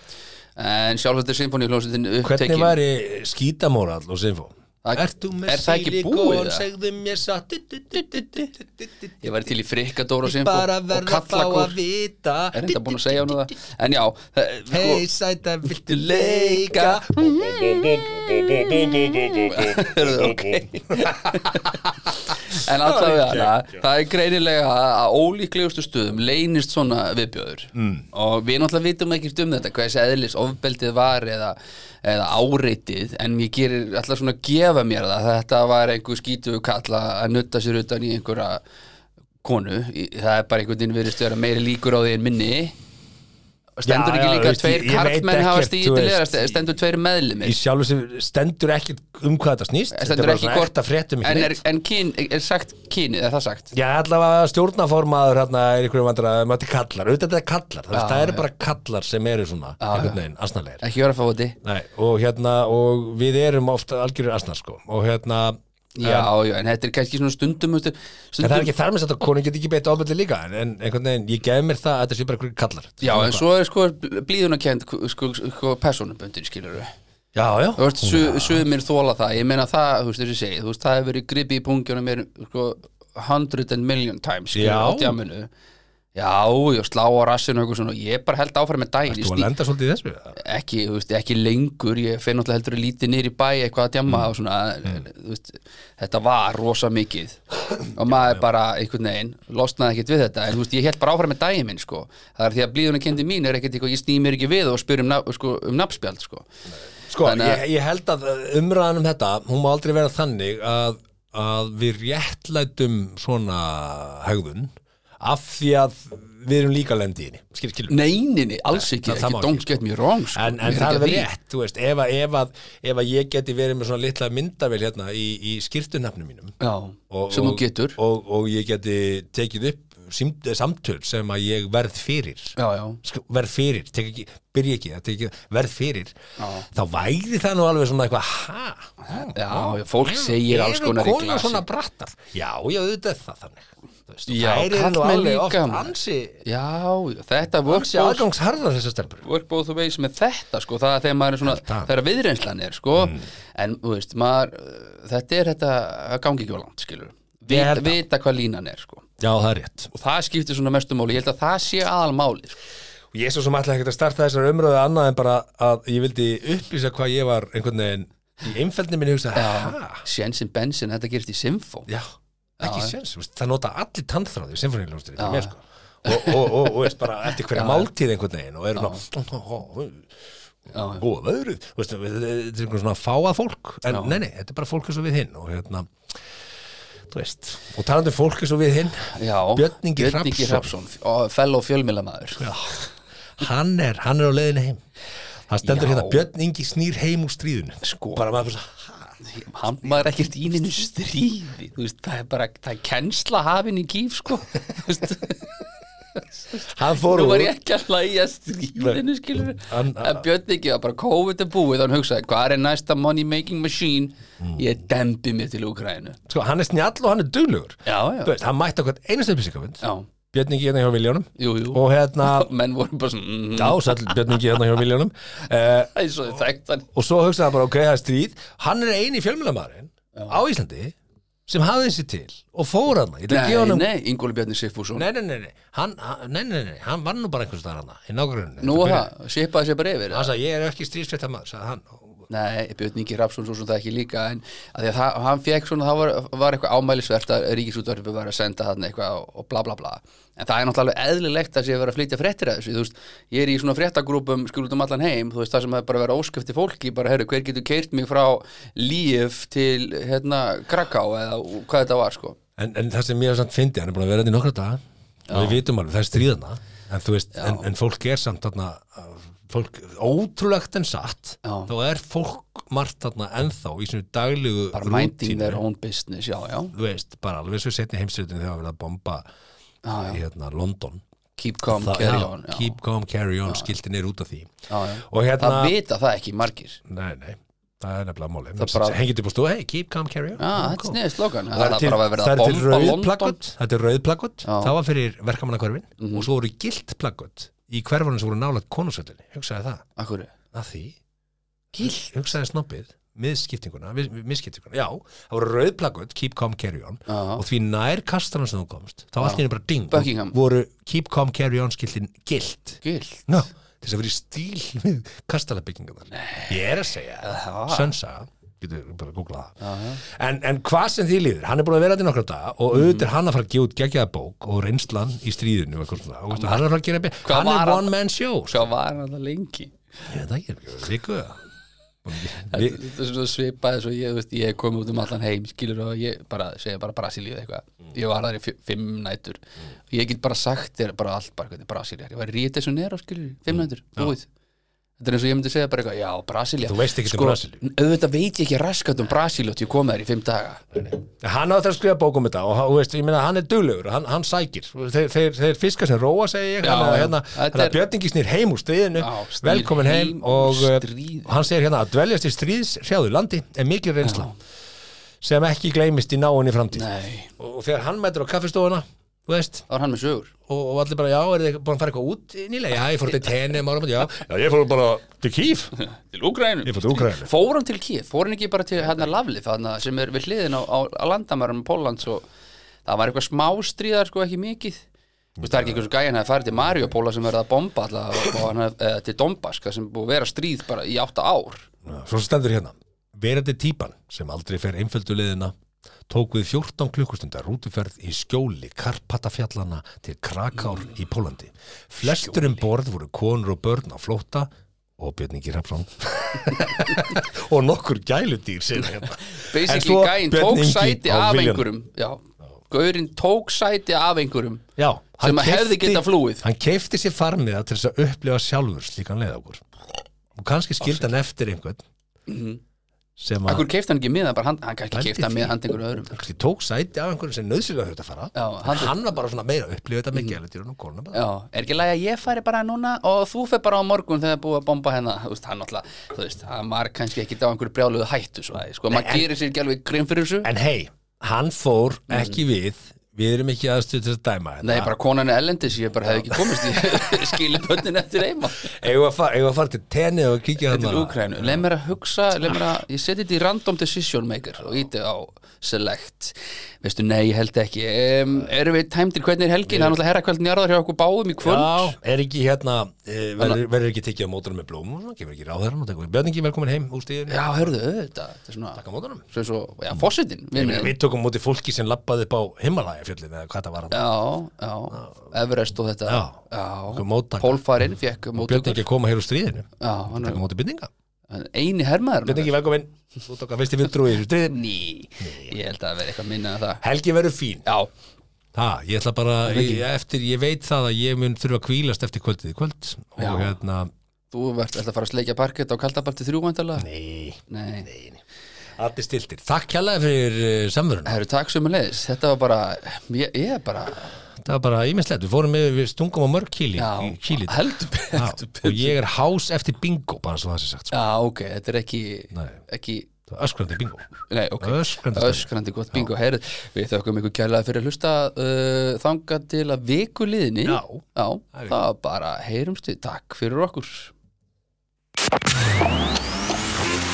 Speaker 2: en sjálfvægt er Sinfoníhljóstin
Speaker 3: Hvernig
Speaker 2: upptekið
Speaker 3: væri skítamóral og sinfó?
Speaker 2: Það-
Speaker 3: Ert þú með
Speaker 2: er það ekki
Speaker 3: sílikon,
Speaker 2: búið, það?
Speaker 3: segðu mér satt du- du- du- du- du- du- du- du- du-
Speaker 2: Ég væri til í Frikkadóra Sinfó
Speaker 3: Bara
Speaker 2: og
Speaker 3: verð að fá að
Speaker 2: Kallakór
Speaker 3: vita
Speaker 2: er enda búin að segja hann það en já, það,
Speaker 3: Hei sæta, viltu
Speaker 2: sko,
Speaker 3: leika?
Speaker 2: Hörðu, ok En allavega hana, það er greinilega að ólíklegustu stöðum leynist svona viðbjöður mm. og við náttúrulega vitum ekkert um þetta hvað þessi eðlis ofbeldið var eða, eða áreitið en ég gerir alltaf svona að gefa mér það að þetta var einhver skítuðu kalla að nutta sér utan í einhverja konu, Í- það er bara einhvern veginn verið stöður meiri líkur á því en minni stendur
Speaker 3: Já,
Speaker 2: ekki
Speaker 3: já,
Speaker 2: líka
Speaker 3: veist,
Speaker 2: að tveir
Speaker 3: ég- ég veit
Speaker 2: karlmenn hafa
Speaker 3: ekkert,
Speaker 2: stíð
Speaker 3: þú
Speaker 2: til
Speaker 3: veist,
Speaker 2: leðast stendur tveir meðlumir
Speaker 3: Í sjálfu sem stendur ekki um hvað þetta snýst
Speaker 2: Það
Speaker 3: Þetta er
Speaker 2: stendur
Speaker 3: bara
Speaker 2: ekki
Speaker 3: svona
Speaker 2: hvort
Speaker 3: ekta fréttum ekki
Speaker 2: en, er,
Speaker 3: neitt.
Speaker 2: en kyn, er sagt kynið, er það sagt?
Speaker 3: Já, allavega stjórnaformaður hérna er ykkur vandrar að mæti kallar, auðvitað þetta er kallar, það,
Speaker 2: Já,
Speaker 3: það eru
Speaker 2: já.
Speaker 3: bara kallar sem eru svona, einhvern veginn, asnalegir.
Speaker 2: Ekki vera fóti
Speaker 3: Nei, og hérna, og við erum ofta algjörur asnar, sko, og hérna,
Speaker 2: Já, já, en þetta er kannski svona stundum þú veist,
Speaker 3: En það
Speaker 2: Stundum
Speaker 3: er ekki þar með þetta að konun getur ekki beitt ofbeldi líka en, en einhvern veginn, ég gef mér það að þetta sé bara einhverjum kallar
Speaker 2: Já, en svo er sko blíðunarkend sko, sko, personuböndin skilur
Speaker 3: Já, já
Speaker 2: Þú veist, su, sumir þóla það Ég meina það, þú veist, þessi segið Þú veist, það hefur verið gripið í pungjunum mér sko, 100 and million times skilurðu,
Speaker 3: Já.
Speaker 2: á djamminu Já, já, slá á rassinu og eitthvað svona Ég bara held áfram með daginn
Speaker 3: Þú
Speaker 2: Ég
Speaker 3: að
Speaker 2: sný-
Speaker 3: lenda svolítið í þessu Já,
Speaker 2: ekki, þú veist, ekki lengur ég finn náttúrulega heldur að lítið niður í bæ eitthvað að
Speaker 3: Mm.
Speaker 2: djamma og svona þú veist, þetta var rosa mikið og maður bara einhvern veginn losnaði ekkert við þetta, en þú veist, ég held bara áfram með daginn minn, sko, það er því að blíðuna kendi mín er ekkert eitthvað, ég snýð mér ekki við og spyr um, naf, sko, um nafnspjald, sko
Speaker 3: Sko,
Speaker 2: Þannig
Speaker 3: ég,
Speaker 2: að-
Speaker 3: ég held að umræðan um þetta hún má aldrei vera þannig að, að við réttlætum svona hegðun af því að við erum líka lendi í henni Skil, skilur
Speaker 2: neyninni, alls ekki,
Speaker 3: það- það má
Speaker 2: ekki
Speaker 3: ekki,
Speaker 2: don't get me wrong, sko
Speaker 3: En, en
Speaker 2: Mér
Speaker 3: það er
Speaker 2: ekki
Speaker 3: alveg
Speaker 2: að því.
Speaker 3: rétt, þú veist, ef að, ef, að, ef að ég geti verið með svona litla myndavél hérna í, í skýrtunafnum mínum
Speaker 2: Já, sem þú getur
Speaker 3: og, og ég geti tekið upp símt, samtöl sem að ég verð fyrir
Speaker 2: Já, já,
Speaker 3: Sk- verð fyrir, tek ekki, byrja ekki, það tek ekki verð fyrir, þá væri það nú alveg svona eitthvað, ha?
Speaker 2: já, fólk segir alls konar í
Speaker 3: Eru konar
Speaker 2: glasi.
Speaker 3: svona brattar? Já, já, auðvitað er það þannig Þú veist,
Speaker 2: Já,
Speaker 3: þær eru nú
Speaker 2: karlmenn
Speaker 3: alveg
Speaker 2: líka,
Speaker 3: oft
Speaker 2: maður.
Speaker 3: ansi
Speaker 2: já, já, þetta
Speaker 3: ansi
Speaker 2: workbox
Speaker 3: aðgangsharðar þessar stelpur
Speaker 2: work both ways með þetta sko, það er þegar maður er svona,
Speaker 3: Þetta.
Speaker 2: þegar viðreynslan er sko,
Speaker 3: Mm.
Speaker 2: en þú veist, maður uh, þetta er þetta að gangi ekki á langt skilur,
Speaker 3: Ég held
Speaker 2: Vit,
Speaker 3: það.
Speaker 2: vita hvað línan er sko,
Speaker 3: Já, það er rétt
Speaker 2: og það skiptir svona mestu máli, ég held að það sé aðal máli sko.
Speaker 3: Og ég svo sem ætla ekkert að starta þessar umröðu annað en bara að ég vildi upplýsa hvað ég var einhvern veginn í einfældni minni hugsa, ha?
Speaker 2: Sjensin Bensin, þetta gerist í Simfó
Speaker 3: Já,
Speaker 2: Já,
Speaker 3: ekki séns, þú veist, það nota allir tannþráði í sinfoníuljónsturinn
Speaker 2: Já.
Speaker 3: mér sko og, og, og, og veist, bara eftir hverja máltíð einhvern veginn og eru ná góða veðrið þú veist, við- þetta er einhvern svona fáað fólk en
Speaker 2: Já.
Speaker 3: nei, nei, þetta er bara fólk eins og við hinn og hérna þú veist og talandi um fólk eins og við hinn
Speaker 2: Já,
Speaker 3: Björn Ingi
Speaker 2: Hrafnsson og fellow fjölmiðlamaður sko.
Speaker 3: Já, hann er, hann er á leiðinu heim það stendur
Speaker 2: Já.
Speaker 3: hérna Björn Ingi snýr heim úr stríðinu
Speaker 2: Sko.
Speaker 3: bara maður fyrir svo
Speaker 2: hann maður ekkert í neinu stríði þú veist, það er bara, það er kennsla hafin í kýf sko Þú veist,
Speaker 3: hann fór
Speaker 2: nú var
Speaker 3: úr
Speaker 2: ég ekki að læja stríðinu skilur
Speaker 3: Hann-
Speaker 2: en Björn ekki var bara COVID er búið hann hugsaði, hvað er næsta money making machine
Speaker 3: Hmm.
Speaker 2: ég dembi mér til Ukraínu
Speaker 3: sko, hann er snjall og hann er duglugur
Speaker 2: já, já,
Speaker 3: Þú veist, hann mætti okkur einastu upplýsingafund
Speaker 2: já,
Speaker 3: Björn Ingi hérna hjá Viljónum
Speaker 2: jú, jú
Speaker 3: og hérna,
Speaker 2: menn voru bara svona mm,
Speaker 3: já, sæll Björn Ingi hérna hjá Viljónum uh,
Speaker 2: það er svo þekkt hann
Speaker 3: og svo hugsaði hann bara, ok, það er stríð hann er eini fjölmjölamæðurinn á Íslandi sem hafði þessi til og fór hann, ég ætla að gefa
Speaker 2: nei,
Speaker 3: hann
Speaker 2: nei, Ingóli Björni Sigfússon
Speaker 3: Nei, nei, nei, nei, hann, hann- nei, nei, nei, nei, hann var nú bara einhvers staðar hana, í nágrunni
Speaker 2: nú og það, sipaði sér bara yfir
Speaker 3: Hann sagði, ég er ekki stríðsfetta maður, sagði hann
Speaker 2: Nei, Björn Ingi Rapsson svo sem það ekki líka en að því að það, hann fekk svona, það var, var eitthvað ámælisvert að Ríkisútvarfið var að senda þarna eitthvað og- og bla bla bla en það er náttúrulega alveg eðlilegt að sé að vera að flytja fréttir að þessu, þú veist, ég er í svona fréttagrúpum skjúlutum allan heim, þú veist, það sem er bara að vera óskipti fólki, bara, herru, hver getur keirt mig frá Líf til, hérna, Kraká eða hvað þetta var, sko
Speaker 3: en, en það sem ég er samt fyndi, hann er búin að vera hérna í nokkra daga og við vitum alveg, það er stríðana en þú veist, en, en fólk er samt þarna fólk, ótrúlegt en satt
Speaker 2: Já.
Speaker 3: þá er fólk margt þarna ennþá í svona daglegu
Speaker 2: bara minding
Speaker 3: rútínu,
Speaker 2: their own business, já, já,
Speaker 3: þú veist, bara alveg svo setni heimsveitinu þegar að vera að bomba
Speaker 2: já, já.
Speaker 3: hérna London
Speaker 2: keep calm,
Speaker 3: Það-
Speaker 2: carry
Speaker 3: já,
Speaker 2: on já.
Speaker 3: keep calm, carry on, skiltin er út af því
Speaker 2: Já, já.
Speaker 3: og hérna
Speaker 2: það vita það ekki margir
Speaker 3: Nei, nei, það er nefnilega máli
Speaker 2: Það bara-
Speaker 3: Hengið upp og stóð, hey, keep calm, carry on
Speaker 2: Já,
Speaker 3: Mm,
Speaker 2: þetta er
Speaker 3: cool.
Speaker 2: sniðið slogan
Speaker 3: Það er til,
Speaker 2: bara verið að
Speaker 3: það er til
Speaker 2: bomba London.
Speaker 3: rauð plakkut Þetta er rauð plakkut,
Speaker 2: Já. Mhm.
Speaker 3: það var fyrir verkamannakvarfin og svo voru gilt plakkut í hverfanum sem voru nálaðt konungsöldinni hugsaði það,
Speaker 2: Akkur,
Speaker 3: að því gilt, hugsaði snoppið miðskiptinguna, við- við- misskiptinguna, já það voru rauð plakkut, keep calm, carry on
Speaker 2: já,
Speaker 3: og því nær kastanum sem þú komst þá allt í henni bara ding,
Speaker 2: Buckingham.
Speaker 3: voru keep calm, carry on skiltin gilt
Speaker 2: gilt
Speaker 3: no, þess að vera í stíl við kastalabyggingarnar, ég er að segja
Speaker 2: Já.
Speaker 3: Sönsa getur bara að googla það en, en hvað sem því líður, hann er búin að vera þetta í nokkra daga og
Speaker 2: Mm.
Speaker 3: auðvitað er hann að fara að gefa út geggjaða bók og reynslan í stríðinu og eitthvað svona, og veistu, hann er að fara að gera be-
Speaker 2: Hvað
Speaker 3: hann
Speaker 2: var
Speaker 3: er
Speaker 2: hann-
Speaker 3: one man show sko.
Speaker 2: Svo var hann alltaf lengi
Speaker 3: ég veit ekki, viku Vi,
Speaker 2: Þetta er svona svipaði svo ég, þú veist, ég kom út um allan heim skilur og ég bara, segja bara Brasilíu eða eitthvað Ég var þar í fjö- fimm nætur og ég get bara sagt þér bara allt bara hvernig Brasilíu er Ég var í Ríu de Janeiro skilur, fimm nætur, búið Þetta er eins og ég myndi segja bara eitthvað, já, Brasilíu
Speaker 3: Þú veist ekkert um Brasilíu.
Speaker 2: Auðvitað veit ég ekki raskat um Brasilíu til ég kom þær í fimm daga
Speaker 3: hann á þetta að skrifa bók um þetta og hann- þú veist, ég meina, hann er duglegur, hann, hann sækir þeir, þeir, þeir fiska sem róa, segi ég
Speaker 2: Já,
Speaker 3: hann,
Speaker 2: já.
Speaker 3: hérna,
Speaker 2: Þetta
Speaker 3: hérna
Speaker 2: er-
Speaker 3: Björningi snýr heim úr stríðinu
Speaker 2: Já, snýr
Speaker 3: velkomin heim,
Speaker 2: heim úr
Speaker 3: og uh,
Speaker 2: stríðinu.
Speaker 3: hann segir hérna að dveljast í stríðs hrjáðu landi er mikil reynsla sem ekki gleymist í náinni framtíð
Speaker 2: Nei,
Speaker 3: og, og þegar hann mætur á kaffistofuna þú veist,
Speaker 2: þá var hann með sögur
Speaker 3: og, og allir bara já, er þið búin að fara eitthvað út nýlega, já, ég fór til tenni áramönd, já. já, ég fór bara til Kýf
Speaker 2: Til Úgrænu
Speaker 3: ég fór til Úkraðinu
Speaker 2: Fór hann til Kiev, fór hann ekki bara til hérna Lavlið þarna sem er við hliðin á, á, á landamærum Póllands og það var eitthvað smá stríðar sko ekki mikið Þú veist það er ekki einhversu gæjan að farið til Mariupóla sem verða að bomba alltaf og hann hef, eða, til Dombask það sem er búið að vera stríð bara í átta ár
Speaker 3: svo stendur hérna, verandi típan sem aldrei fer einföldu leiðina tók við 14 klukkustundar rútuferð í skjóli Karpatafjallana til Krakár
Speaker 2: Mm.
Speaker 3: í Pólandi flestur um borð voru konur og börn á flóta og Björningi Hrafsson og nokkur gæludýr segir hérna. En
Speaker 2: Basically
Speaker 3: svo
Speaker 2: gæjan
Speaker 3: Björn
Speaker 2: tók
Speaker 3: Ingi
Speaker 2: sæti
Speaker 3: á
Speaker 2: af
Speaker 3: William.
Speaker 2: einhverjum Já, gaurinn tók sæti af einhverjum
Speaker 3: Já,
Speaker 2: Sem
Speaker 3: hann
Speaker 2: að hefði
Speaker 3: keypti-
Speaker 2: getað flúið.
Speaker 3: Hann keifti sér farmiða til þess að upplifa sjálfur slíkan leiðagur og kannski skildan eftir einhvern
Speaker 2: Mhm.
Speaker 3: sem að
Speaker 2: Akkur keifti hann ekki miða, bara hann, hann kannski
Speaker 3: Pældi
Speaker 2: keifti hann
Speaker 3: því.
Speaker 2: miða hann einhverjum öðrum
Speaker 3: kannski tók sæti af einhverjum sem nöðsilega þurft að fara
Speaker 2: Já,
Speaker 3: hann,
Speaker 2: hann- Mhm.
Speaker 3: var bara svona meira að upplifa þetta með mm. gæludýrun og konuna bara
Speaker 2: Já, er ekki lægi að ég færi bara núna og þú fer bara á morgun þegar búið að bomba hérna þú veist, hann alltaf, þú veist, hann var kannski ekki á einhverju brjáluðu hættu svo, sko, maður
Speaker 3: en-
Speaker 2: gerir sér ekki alveg grinn fyrir þessu
Speaker 3: en hei, hann fór ekki við við erum ekki aðstöð til þess að dæma
Speaker 2: Mhm. Nei, bara konan er ellendis, ég bara hef ekki komist í skiliböndin eftir eima
Speaker 3: eigum við að fara- eigum við að fara til tenni og kíkja
Speaker 2: til
Speaker 3: þarna
Speaker 2: Úkrænu, leið mér að hugsa leið mér að, ég seti þetta í random decision maker og íti á select veistu, nei, ég held ekki um, erum við tæmdir, hvernig er helgin, það er náttúrulega herrakvöldin jarðar hjá okkur báðum í kvöld
Speaker 3: Já, er ekki hérna, eh, verður verður ekki tekið á mótunum með blómum, og svona, gefur ekki ráðherran og tekur Björningi velkomin heim úr stíðinu,
Speaker 2: Já, hörðu, þetta, þetta er svona
Speaker 3: takk á mótunum.
Speaker 2: sem svo, já, fósitin,
Speaker 3: Ég
Speaker 2: við
Speaker 3: meina, Við tókum móti fólki sem lappaði upp á Himalaya-fjöllin eða hvað það var hann.
Speaker 2: já, já, Everest og þetta
Speaker 3: Já.
Speaker 2: já.
Speaker 3: Okkur móttaka.
Speaker 2: Pólfarinn fekk móttökur
Speaker 3: Björningi koma hér úr stríðinu,
Speaker 2: já, hann,
Speaker 3: taka móti byrninga.
Speaker 2: Hann er eini hermaður
Speaker 3: Björn Ingi, velkomin Þú tók að fyrst í vindrúi í þessu stríði.
Speaker 2: Ný, ég held að það vera eitthvað minna en það
Speaker 3: Helgi verður fín
Speaker 2: Já,
Speaker 3: Það, ég ætla bara, ég, eftir, ég veit það að ég mun þurfa að kvílast eftir kvöldið í kvöld og
Speaker 2: Já.
Speaker 3: hérna
Speaker 2: þú ert alltaf að fara að sleikja parkett á kaldabalti þrjú vandalega
Speaker 3: Nei,
Speaker 2: Nei,
Speaker 3: allir stiltir Takk kjallaði fyrir uh, samverðuna
Speaker 2: það eru takk sem Þetta var bara, ég, ég er bara
Speaker 3: Það var bara ímislegt, við fórum með, við stungum á mörg kíli,
Speaker 2: Já,
Speaker 3: kíli í dag.
Speaker 2: heldur betur
Speaker 3: Já, og ég er hás eftir bingo bara svo það sé sagt, sko.
Speaker 2: Já, ok, þetta er ekki
Speaker 3: Nei.
Speaker 2: ekki
Speaker 3: Það er öskrandi bingo
Speaker 2: Nei, ok,
Speaker 3: Öskrandi stemning.
Speaker 2: öskrandi gott bingo Heyrðu, við þökkum ykkur kjærlega fyrir að hlusta uh, þanga til að viku liðinni
Speaker 3: Já.
Speaker 2: Já það var bara heyrumstu, takk fyrir okkur